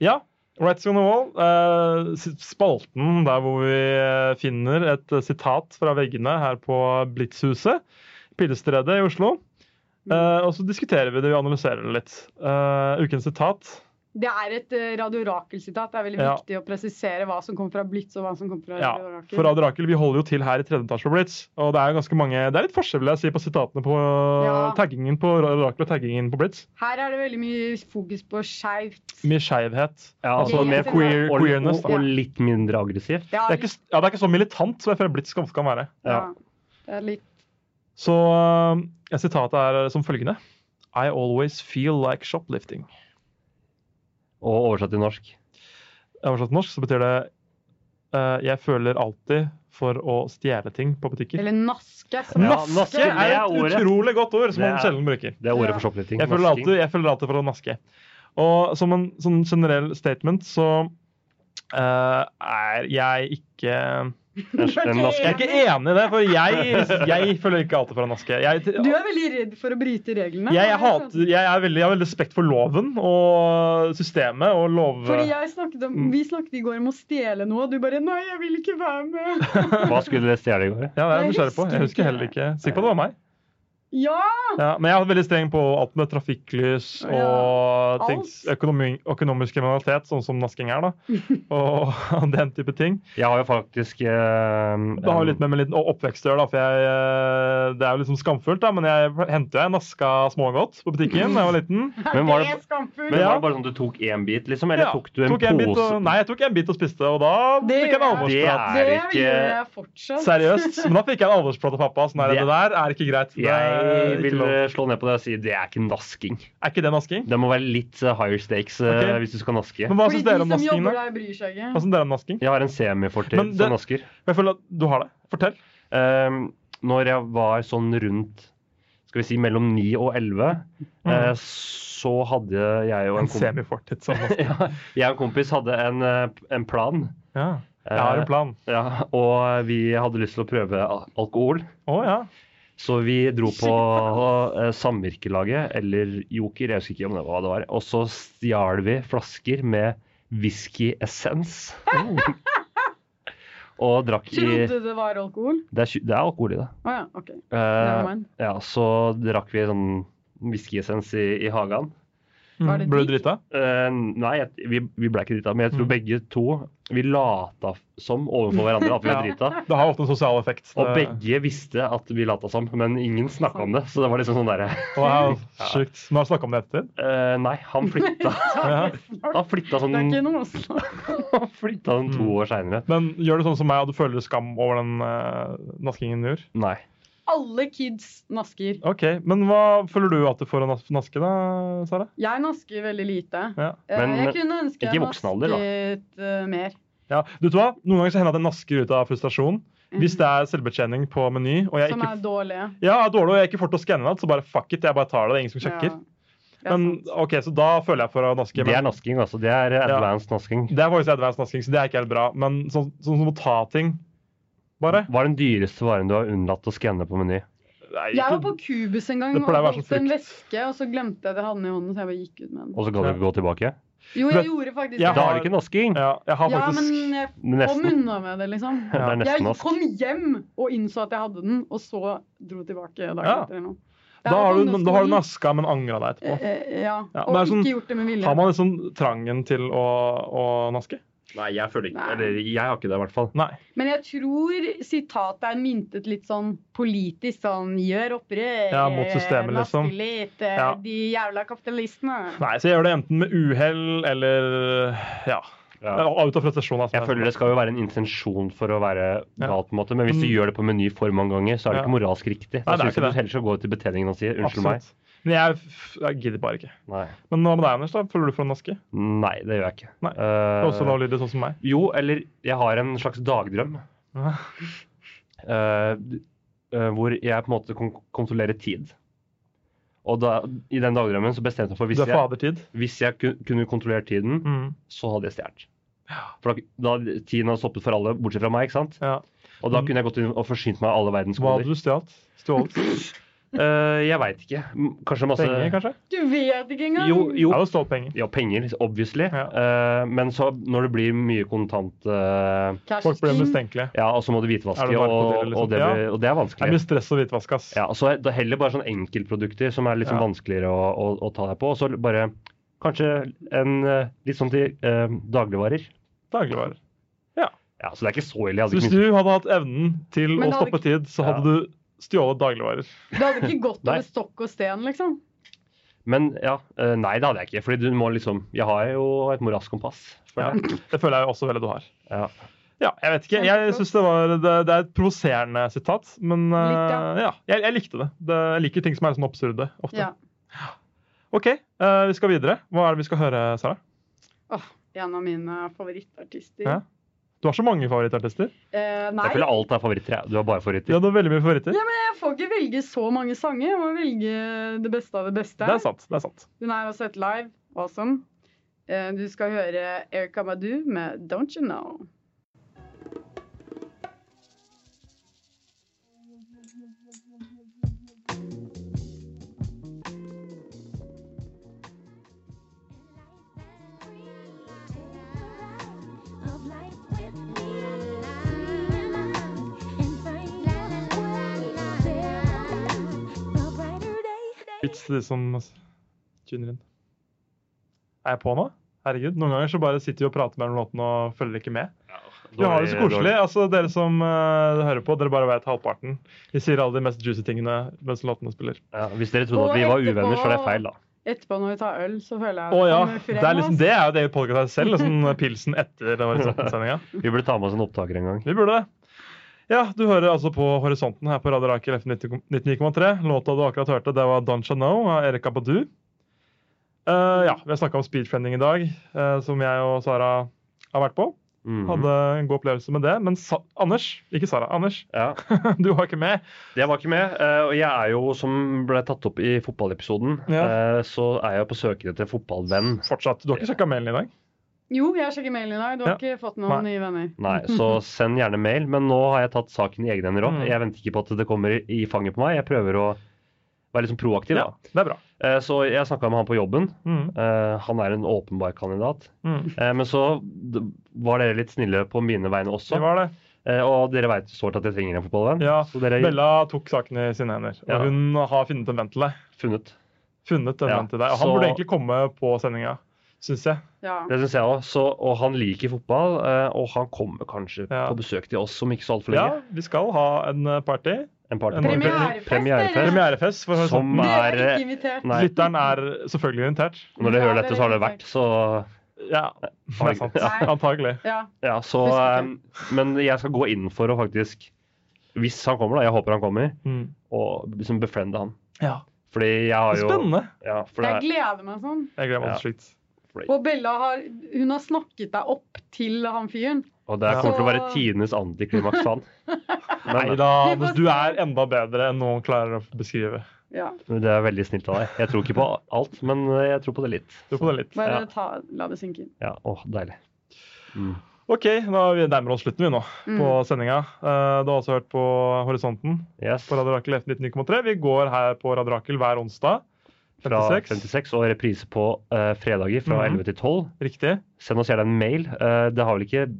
Speaker 2: Ja, Writings on the wall. eh, s- spalten der hvor vi eh, finner et eh, sitat fra veggene her på Blitzhuset. Pillestredet i Oslo.
Speaker 4: Mm.
Speaker 2: Eh, og så diskuterer vi det og analyserer det litt. Eh, ukens sitat
Speaker 4: Det er et eh, Radio Rakel-sitat. Det er veldig
Speaker 2: Ja.
Speaker 4: viktig å presisere hva som kom fra Blitz og hva som kom fra
Speaker 2: Ja,
Speaker 4: Radio Rakel.
Speaker 2: for Radio Rakel, vi holder jo til her i tredje etasje på Blitz. Og det er jo ganske mange Det er litt forskjell, vil jeg si, på sitatene på
Speaker 4: Ja.
Speaker 2: taggingen på Radio Rakel og taggingen på Blitz.
Speaker 4: Her er det veldig mye fokus på skeivt.
Speaker 2: Mye skeivhet.
Speaker 3: Ja,
Speaker 2: altså
Speaker 4: Det er
Speaker 2: mer
Speaker 4: ikke
Speaker 2: queer,
Speaker 3: Og,
Speaker 2: queerness.
Speaker 3: og,
Speaker 2: Da.
Speaker 3: og litt mindre aggressivt.
Speaker 4: Ja,
Speaker 2: Det er, ikke, ja, det er ikke så militant som jeg føler Blitz ofte kan være.
Speaker 4: ja. Det er litt
Speaker 2: Så øh, et sitat er som følgende. I always feel like shoplifting.
Speaker 3: Og oversatt til norsk.
Speaker 2: Oversatt til norsk så betyr det øh, jeg føler alltid for å stjele ting på butikker.
Speaker 4: Eller naske. Som
Speaker 3: Ja,
Speaker 2: Naske
Speaker 3: naske, det
Speaker 2: er
Speaker 3: er
Speaker 2: et
Speaker 3: ordet.
Speaker 2: utrolig godt ord som
Speaker 3: Det
Speaker 2: man
Speaker 3: er-
Speaker 2: sjelden bruker.
Speaker 3: Det er ordet
Speaker 4: Ja.
Speaker 3: for shoplifting.
Speaker 2: Jeg føler,
Speaker 3: Masking.
Speaker 2: alltid, jeg føler alltid for å naske. Og som en sånn generell statement så øh, er jeg ikke
Speaker 3: En- en
Speaker 2: Jeg er
Speaker 3: naske.
Speaker 2: ikke enig i det, for jeg, jeg føler ikke alltid for å naske. Jeg,
Speaker 4: Du er veldig redd for å bryte
Speaker 2: Jeg,
Speaker 4: reglene.
Speaker 2: jeg,
Speaker 4: har jeg skjønt.
Speaker 2: hater, jeg, er veldig, jeg har veldig respekt for loven og systemet og lov...
Speaker 4: Fordi jeg snakket om,
Speaker 2: Mm.
Speaker 4: Vi snakket i går om å stjele noe, og du bare 'Nei, jeg vil ikke være med'.
Speaker 3: Hva skulle dere stjele i går?
Speaker 2: Ja, det er jeg
Speaker 4: Jeg
Speaker 2: nysgjerrig på. Jeg
Speaker 4: husker
Speaker 2: husker heller ikke. Sikker på det var meg.
Speaker 4: Ja!
Speaker 2: Ja, men jeg har vært veldig streng på alt med trafikklys og
Speaker 4: alt.
Speaker 2: ting, økonomi, økonomisk kriminalitet, sånn som nasking er, da. Og den type ting.
Speaker 3: Jeg har jo faktisk eh,
Speaker 2: Det har jo litt med min liten oppvekst å gjøre, da, for jeg, eh, det er jo litt sånn skamfullt, da, men jeg henta jeg naska smågodt på butikken da jeg var liten.
Speaker 3: Men var det,
Speaker 4: er skamfullt.
Speaker 3: men
Speaker 2: Ja.
Speaker 3: var det bare sånn du tok én bit, liksom? Eller
Speaker 2: Ja,
Speaker 3: tok du en
Speaker 2: tok jeg bit
Speaker 3: pose?
Speaker 2: og, nei, jeg tok en bit og spiste, og da
Speaker 4: Det
Speaker 2: fikk jeg en
Speaker 4: gjør
Speaker 3: Det
Speaker 2: alvorsprat.
Speaker 3: er
Speaker 4: det
Speaker 3: ikke-
Speaker 4: gjør jeg fortsatt.
Speaker 2: Seriøst? Men da fikk jeg en alvorsprat av pappa. Sånn her,
Speaker 3: Det-
Speaker 2: det der er ikke greit. Det er,
Speaker 3: Jeg
Speaker 2: ikke
Speaker 3: vil
Speaker 2: lov.
Speaker 3: eh, slå ned på det og si det er ikke nasking.
Speaker 2: er ikke det nasking?
Speaker 3: Det må være litt eh, higher stakes eh,
Speaker 2: Ok.
Speaker 3: hvis du skal naske.
Speaker 2: Men hva
Speaker 4: Fordi
Speaker 2: syns
Speaker 4: de
Speaker 2: dere om
Speaker 4: som
Speaker 2: nasking?
Speaker 4: jobber
Speaker 2: da?
Speaker 4: der, bryr seg ikke.
Speaker 2: Hva syns dere om nasking?
Speaker 3: Jeg har en
Speaker 2: Men
Speaker 3: semifortid
Speaker 2: det-
Speaker 3: som nasker. Ehm,
Speaker 2: Jeg føler at du har det. Fortell.
Speaker 3: Eh, når jeg var sånn rundt skal vi si, mellom 9 og 11, eh, så hadde jeg og
Speaker 2: Mm. En
Speaker 3: en, kom
Speaker 2: semifortid sånn.
Speaker 3: ja, jeg og en kompis hadde en, eh, en plan.
Speaker 2: Ja.
Speaker 3: Eh,
Speaker 2: Jeg har en plan.
Speaker 3: ja, og vi hadde lyst til å prøve al- alkohol.
Speaker 2: Å ja.
Speaker 3: Så vi dro på eh, Samvirkelaget, eller Joker, jeg husker ikke om det var hva det var. Og så stjal vi flasker med whiskyessens. og drakk i
Speaker 4: Trodde det var alkohol?
Speaker 3: Det er, tju- det er alkohol i det.
Speaker 4: Å ja, OK.
Speaker 3: Eh,
Speaker 4: Nevermind.
Speaker 3: ja, så drakk vi sånn whiskyessens i, i hagen.
Speaker 4: Var det
Speaker 2: Mm, Ble du
Speaker 4: digg?
Speaker 2: drita?
Speaker 3: Eh, nei, jeg, vi, vi ble ikke drita, men jeg tror
Speaker 2: Mm.
Speaker 3: begge to Vi lata som overfor hverandre at vi var
Speaker 2: Ja.
Speaker 3: drita.
Speaker 2: Det har ofte en sosial effekt.
Speaker 3: Og
Speaker 2: Det-
Speaker 3: begge visste at vi lata som, men ingen snakka om det. Så det var liksom sånn derre
Speaker 2: Wow, sjukt. Men har du snakka om det ettertid?
Speaker 3: eh, Nei, han flytta.
Speaker 2: Ja.
Speaker 3: Han flytta sånn,
Speaker 4: Det er ikke noe å snakke
Speaker 3: han flytta sånn to
Speaker 2: Mm.
Speaker 3: år seinere.
Speaker 2: Men gjør du sånn som meg, og du føler skam over den eh, naskingen du gjør?
Speaker 3: Nei.
Speaker 4: Alle kids nasker.
Speaker 2: Ok, Men hva føler du at du får å nas- naske, da, Sara?
Speaker 4: Jeg nasker veldig lite.
Speaker 2: Ja.
Speaker 4: Eh,
Speaker 3: Men,
Speaker 4: jeg kunne ønske
Speaker 3: ikke
Speaker 4: jeg
Speaker 3: i voksen alder, da.
Speaker 4: nasket eh, mer.
Speaker 2: Ja, du vet hva? Noen ganger så hender det at jeg nasker ut av frustrasjon. Hvis det er selvbetjening på Meny, og jeg
Speaker 4: Mm. Som
Speaker 2: ikke,
Speaker 4: er dårlige.
Speaker 2: ja, er dårlig, og jeg ikke får til å skanne det, så bare fuck it, jeg bare tar det. Det er ingen som sjekker.
Speaker 4: Ja, det er
Speaker 2: men
Speaker 4: sant.
Speaker 2: ok, Så da føler jeg for å naske.
Speaker 3: Det er
Speaker 2: Men
Speaker 3: nasking, altså. Det er advanced nasking.
Speaker 2: det er faktisk advanced nasking, så det er ikke helt bra. Men sånn sånn som å ta ting, bare
Speaker 3: Hva er den dyreste varen du har unnlatt å skanne på Meny?
Speaker 2: Nei,
Speaker 4: Jeg var
Speaker 2: ikke-
Speaker 4: på Cubus en gang
Speaker 2: Det
Speaker 4: og
Speaker 2: pleier å være
Speaker 4: holdt
Speaker 2: sånn
Speaker 4: en
Speaker 2: frukt.
Speaker 4: veske, og så glemte jeg at jeg hadde den i hånden, så jeg bare gikk ut med den.
Speaker 3: Og så kan du ikke gå tilbake?
Speaker 4: Jo,
Speaker 2: Men-
Speaker 4: jeg gjorde faktisk
Speaker 2: Jeg
Speaker 3: Da
Speaker 4: det.
Speaker 3: er det ikke nasking!
Speaker 2: ja, jeg har
Speaker 4: Ja,
Speaker 2: faktisk
Speaker 4: men eh, jeg kom
Speaker 3: Nesten.
Speaker 4: unna med det, liksom.
Speaker 3: Det er
Speaker 4: Jeg
Speaker 3: nesten nask.
Speaker 4: kom hjem og innså at jeg hadde den, og så dro tilbake dagen
Speaker 2: Ja.
Speaker 4: etter. eller noe. Det
Speaker 2: Da
Speaker 4: er
Speaker 2: har
Speaker 4: sånn
Speaker 2: du, da har du
Speaker 4: nostalgi.
Speaker 2: naska, men angra deg etterpå.
Speaker 4: Eh, eh, Ja,
Speaker 2: Ja, men det
Speaker 4: og
Speaker 2: er sånn-
Speaker 4: ikke gjort det med vilje.
Speaker 2: Har man liksom trangen til å, å naske?
Speaker 3: Nei, jeg føler
Speaker 4: ikke-
Speaker 3: Eller jeg har ikke det, i hvert fall.
Speaker 2: Nei.
Speaker 4: Men jeg tror sitatet er myntet litt sånn politisk sånn gjør opprør.
Speaker 2: Ja, mot systemet, liksom.
Speaker 4: naske Litt, eh,
Speaker 2: Ja.
Speaker 4: De jævla kapitalistene.
Speaker 2: Nei, så jeg gjør det enten med uhell eller ja,
Speaker 3: Ja.
Speaker 2: ut av frustrasjon. Altså.
Speaker 3: Jeg føler det skal jo være en intensjon for å være
Speaker 2: Ja.
Speaker 3: galt, på en måte. Men hvis du
Speaker 2: Mm.
Speaker 3: gjør det på Meny for mange ganger, så er
Speaker 2: Ja.
Speaker 3: det ikke moralsk riktig. Da
Speaker 2: Nei, det er
Speaker 3: syns jeg
Speaker 2: ikke
Speaker 3: du
Speaker 2: det.
Speaker 3: heller skal gå til betjeningen og si unnskyld meg.
Speaker 2: Absolutt. Men jeg, f- jeg gidder bare ikke.
Speaker 3: Nei.
Speaker 2: Men hva med deg, Anders? da? Føler du for å naske?
Speaker 3: Nei, det gjør jeg ikke.
Speaker 2: Nei.
Speaker 3: Eh,
Speaker 2: Det er Også lavlydig, sånn som meg.
Speaker 3: jo, eller jeg har en slags dagdrøm.
Speaker 2: Ja.
Speaker 3: Eh, d- eh, hvor jeg på en måte kon kontrollerer tid. Og da, i den dagdrømmen så bestemte jeg meg for
Speaker 2: Du
Speaker 3: hvis
Speaker 2: er
Speaker 3: jeg,
Speaker 2: fadertid.
Speaker 3: hvis jeg ku- kunne kontrollere tiden,
Speaker 2: Mm.
Speaker 3: så hadde jeg stjålet. For da, da hadde tiden hadde stoppet for alle, bortsett fra meg. ikke sant?
Speaker 2: Ja. Mm.
Speaker 3: Og da kunne jeg gått inn og forsynt meg av alle verdens
Speaker 2: Hva hadde
Speaker 3: goder.
Speaker 2: du stjålet? Stjålet
Speaker 3: Eh, jeg veit ikke. M- Kanskje masse
Speaker 2: penger, kanskje?
Speaker 4: Du vet ikke engang!
Speaker 3: Jo, Altså, jo.
Speaker 2: Jeg hadde stjålet penger.
Speaker 3: Ja, penger, obviously. Eh, men så når det blir mye kontant eh,
Speaker 4: Cash
Speaker 2: Folk ble
Speaker 4: is king.
Speaker 2: mistenkelige.
Speaker 3: Ja, og så må du hvitvaske,
Speaker 2: Er det
Speaker 3: og,
Speaker 2: narkodealer, liksom?
Speaker 3: og, det
Speaker 2: Ja.
Speaker 3: blir, og det er
Speaker 2: Det
Speaker 3: vanskelig.
Speaker 2: er mye stress og hvitvask, ass.
Speaker 3: Ja, så er det heller bare sånn enkeltprodukter som er litt sånn
Speaker 2: Ja.
Speaker 3: vanskeligere å, å, å ta deg på. Og så bare kanskje en eh, litt sånn til eh, dagligvarer.
Speaker 2: Dagligvarer.
Speaker 3: Ja, Så det er ikke så ille.
Speaker 2: Så
Speaker 3: Jeg hadde
Speaker 2: hvis
Speaker 3: Altså, ikke
Speaker 2: du hadde hatt evnen til
Speaker 4: Men
Speaker 2: å
Speaker 4: det hadde
Speaker 2: stoppe tid, så
Speaker 3: Ja.
Speaker 2: hadde du stjålet dagligvarer.
Speaker 4: Det hadde ikke gått
Speaker 3: Nei.
Speaker 4: over stokk og sten, liksom.
Speaker 3: mye- Men ja, eh, nei, det hadde jeg ikke. Fordi du må liksom Jeg har jo et moralskompass.
Speaker 2: Ja.
Speaker 3: føler jeg.
Speaker 2: Det føler jeg jo også veldig du har.
Speaker 3: Ja.
Speaker 2: Ja, jeg vet ikke. Jeg synes det, var, det, det er et provoserende sitat, men eh,
Speaker 4: Litt, ja.
Speaker 2: ja, jeg, jeg likte det. det. Jeg liker ting som er sånn absurde ofte.
Speaker 4: Ja.
Speaker 2: OK, eh, vi skal videre. Hva er det vi skal høre, Sara?
Speaker 4: En av mine favorittartister.
Speaker 2: Ja. Du har så mange favorittartister.
Speaker 4: Eh, nei,
Speaker 3: Jeg føler alt er favoritter. jeg. Du har bare favoritter.
Speaker 2: Ja, du har veldig mye favoritter.
Speaker 4: Ja, jeg får ikke velge så mange sanger. Jeg må velge det beste av det beste.
Speaker 2: det er sant. det er sant.
Speaker 4: Hun er også et live. Awesome. Eh, Du skal høre Erika Badu med Don't You Know.
Speaker 2: Vits til de som tuner inn. Er jeg på nå? Herregud, Noen ganger så bare sitter vi og prater mellom låtene og følger ikke med. Vi har det så koselig. altså Dere som eh, hører på, dere bare vet halvparten. Vi sier alle de mest juicy tingene mens låtene spiller.
Speaker 3: Ja, hvis dere trodde
Speaker 4: Og
Speaker 3: at vi var
Speaker 4: etterpå-
Speaker 3: uvenner, så er det feil, da.
Speaker 4: Etterpå når vi tar øl, så føler jeg
Speaker 2: Å ja.
Speaker 4: kommer frem,
Speaker 2: Det er, liksom,
Speaker 4: ass.
Speaker 2: det er jo det vi påkaller oss selv. Liksom, pilsen etter den horisonten-sendinga.
Speaker 3: Vi burde ta med oss en opptaker en gang.
Speaker 2: Vi burde det. Ja, du hører altså på Horisonten her på Radio Rakel FM 90 99,3. Låta du akkurat hørte, det var Don't You Know av Erika Badu. Eh, ja, vi har snakka om speedtrending i dag, eh, som jeg og Sara har vært på.
Speaker 3: Mhm.
Speaker 2: Hadde en god opplevelse med det. Men Sa Anders, ikke Sara, Anders,
Speaker 3: Ja.
Speaker 2: du var ikke med.
Speaker 3: Det var ikke med. eh, Og jeg er jo, som ble tatt opp i fotballepisoden,
Speaker 2: Ja.
Speaker 3: eh, så er jeg på søken etter fotballvenn.
Speaker 2: Fortsatt. Du har ikke sjekka mailen i dag?
Speaker 4: Jo, jeg sjekker mailen i dag. Du har ikke fått noen nye venner.
Speaker 3: Nei, så send gjerne mail. Men nå har jeg tatt saken i egne hender òg.
Speaker 2: Mm.
Speaker 3: Jeg venter ikke på at det kommer i- i fanget på meg. Jeg prøver å være liksom proaktiv, da.
Speaker 2: Det er bra.
Speaker 3: Eh, Så jeg snakka med han på jobben.
Speaker 2: Mm.
Speaker 3: Eh, Han er en åpenbar kandidat.
Speaker 2: Mm.
Speaker 3: Eh, Men så d- var dere litt snille på mine vegne også.
Speaker 2: Det var det.
Speaker 3: Eh, Og dere veit sårt at jeg trenger en fotballvenn.
Speaker 2: Ja,
Speaker 3: Så dere har
Speaker 2: Bella tok saken i sine hender, og
Speaker 3: Ja.
Speaker 2: hun har funnet en venn til deg.
Speaker 3: funnet.
Speaker 2: Funnet en
Speaker 3: Ja,
Speaker 2: venn til deg. Og han
Speaker 3: så-
Speaker 2: burde egentlig komme på sendinga, syns jeg.
Speaker 4: Ja.
Speaker 3: Det syns jeg òg. Og han liker fotball, eh, og han kommer kanskje
Speaker 2: Ja.
Speaker 3: på besøk til oss om ikke så altfor
Speaker 2: Ja,
Speaker 3: lenge.
Speaker 2: vi skal ha en eh, party.
Speaker 3: En party.
Speaker 2: En
Speaker 4: Premierefest,
Speaker 3: Premierefest.
Speaker 2: Premierefest for
Speaker 3: Som
Speaker 2: Horisonten.
Speaker 4: Dere er
Speaker 3: er
Speaker 4: ikke invitert.
Speaker 3: Nei,
Speaker 2: sånn. Lytteren er selvfølgelig orientert.
Speaker 3: når dere
Speaker 4: Ja,
Speaker 3: hører dette, så har det
Speaker 4: dere er
Speaker 3: vært, så
Speaker 2: Ja, det er sant.
Speaker 4: Nei.
Speaker 2: Antagelig.
Speaker 4: Ja.
Speaker 3: Ja, så,
Speaker 4: Husker
Speaker 3: eh, men jeg skal gå inn for å faktisk, hvis han kommer da, jeg håper han kommer,
Speaker 2: Mm.
Speaker 3: og liksom befriende han.
Speaker 2: Ja.
Speaker 3: Fordi jeg har jo...
Speaker 2: Spennende.
Speaker 3: Ja, for
Speaker 4: Jeg
Speaker 3: det,
Speaker 4: gleder meg sånn.
Speaker 2: Jeg gleder meg
Speaker 3: Ja.
Speaker 2: til slutt.
Speaker 4: Og Bella har, hun har snakket deg opp til han fyren.
Speaker 3: og det kommer til å være
Speaker 4: Så-
Speaker 3: tidenes antiklimaks for han.
Speaker 2: Nei
Speaker 3: Men
Speaker 2: da, Anders, du er enda bedre enn noen klarer å beskrive.
Speaker 4: Ja,
Speaker 3: det er veldig snilt av deg. Jeg tror ikke på alt, men eh, jeg tror på det litt.
Speaker 2: Du på det litt.
Speaker 4: bare
Speaker 3: Ja.
Speaker 4: ta, la det synke inn.
Speaker 3: Ja, åh, deilig.
Speaker 2: OK, da er vi nærmer oss slutten vi nå
Speaker 4: Mm.
Speaker 2: på sendinga. Eh, Du har også hørt på Horisonten
Speaker 3: Yes,
Speaker 2: på Radio Rakel FN 19,3. Vi går her på Radio Rakel hver onsdag.
Speaker 3: fra
Speaker 2: 56.
Speaker 3: 56 og reprise på eh, fredager fra
Speaker 2: Mhm.
Speaker 3: 11 til 12.
Speaker 2: Riktig.
Speaker 3: Send oss gjerne en mail. Eh, det har vel ikke...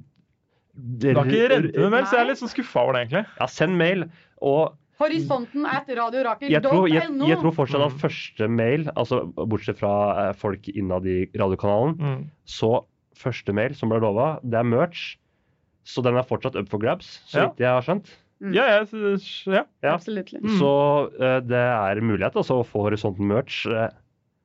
Speaker 2: Det har ikke rent med mer, så jeg er
Speaker 4: Nei.
Speaker 2: litt sånn skuffa over det, egentlig.
Speaker 3: Ja, send mail, og
Speaker 4: Horisonten at
Speaker 3: jeg tror, jeg,
Speaker 4: radiorakel.no.
Speaker 3: jeg tror fortsatt at
Speaker 2: Mm.
Speaker 3: første mail, altså bortsett fra eh, folk innad i radiokanalen,
Speaker 2: Mm.
Speaker 3: så første mail som ble lova, det er merch. Så den er fortsatt up for grabs, så
Speaker 2: Ja.
Speaker 3: vidt jeg har skjønt.
Speaker 4: Mm.
Speaker 2: Ja, jeg synes- ja.
Speaker 3: ja.
Speaker 4: Absolutt.
Speaker 2: Mm.
Speaker 3: Så eh, det er mulighet altså, å få Horisonten merch, eh,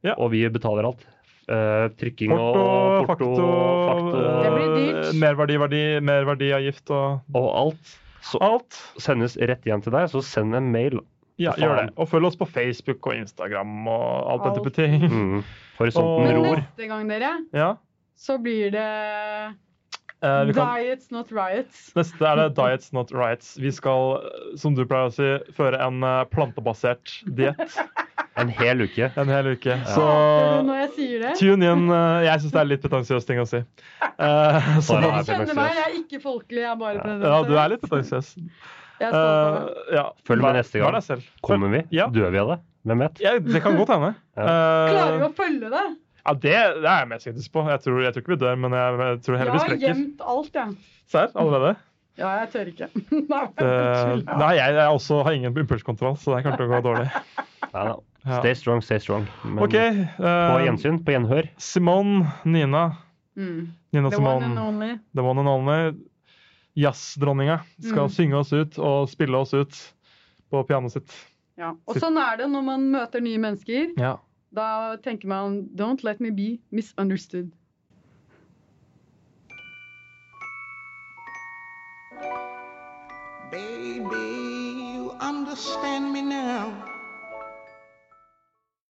Speaker 2: Ja.
Speaker 3: og vi betaler alt. Eh, trykking
Speaker 2: Porto,
Speaker 3: og
Speaker 2: fakto,
Speaker 3: porto, fakto
Speaker 4: Det blir dyrt.
Speaker 2: Eh, merverdiverdi, merverdiavgift og
Speaker 3: og alt. Så
Speaker 2: alt.
Speaker 3: sendes rett igjen til deg, så send en mail.
Speaker 2: Ja,
Speaker 3: Faen.
Speaker 2: gjør det. Og følg oss på Facebook og Instagram og alt den
Speaker 4: Alt.
Speaker 2: type ting.
Speaker 3: Mm.
Speaker 2: Og-
Speaker 3: Horisonten
Speaker 4: Men eh,
Speaker 3: ror.
Speaker 4: neste gang, dere,
Speaker 2: Ja.
Speaker 4: så blir det
Speaker 2: Eh, vi kan...
Speaker 4: Diets, not riots.
Speaker 2: Neste er det Diets Not Rights. Vi skal, eh, som du pleier å si, føre en eh, plantebasert diett
Speaker 3: En hel uke.
Speaker 2: en hel uke.
Speaker 4: Hater du
Speaker 2: Så
Speaker 4: når jeg sier det?
Speaker 2: tune in. eh, Jeg syns det er litt pretensiøs ting å si. Eh, så,
Speaker 3: Bare
Speaker 4: Dere
Speaker 3: her.
Speaker 2: ja,
Speaker 4: kjenner meg, jeg er ikke folkelig. Jeg er bare
Speaker 2: du er litt pretensiøs.
Speaker 4: Jeg er stolt av det.
Speaker 2: Eh, ja.
Speaker 3: Følg med neste gang.
Speaker 2: Vær deg selv.
Speaker 3: Kommer vi?
Speaker 2: Ja.
Speaker 3: Dør vi av det? Hvem vet?
Speaker 2: Ja, det kan godt hende. Eh,
Speaker 4: Klarer vi å følge det?
Speaker 2: Ja, det, det er jeg mest skeptisk på. Jeg tror, jeg tror ikke vi dør, men jeg, jeg tror
Speaker 4: Jeg
Speaker 2: heller vi
Speaker 4: har
Speaker 2: sprekker.
Speaker 4: gjemt alt, jeg.
Speaker 2: Serr, allerede?
Speaker 4: Ja, jeg tør ikke. Nei,
Speaker 2: Det, sånn
Speaker 4: unnskyld.
Speaker 2: nei, jeg, jeg også har ingen impulskontroll, så det kommer til å gå dårlig.
Speaker 3: Nei, da.
Speaker 2: Ja.
Speaker 3: Stay strong, stay strong. Men
Speaker 2: OK.
Speaker 3: på
Speaker 2: eh,
Speaker 3: gjensyn, på gjenhør.
Speaker 2: Simone, Nina,
Speaker 4: Mm.
Speaker 2: Nina
Speaker 4: The one and
Speaker 2: Simone,
Speaker 4: only.
Speaker 2: the one and only, jazzdronninga, skal
Speaker 4: Mm.
Speaker 2: synge oss ut og spille oss ut på pianoet sitt.
Speaker 4: Ja. Og sånn er det når man møter nye mennesker.
Speaker 2: Ja.
Speaker 4: Da tenker man Don't let me be misunderstood.
Speaker 5: Baby, you understand me now.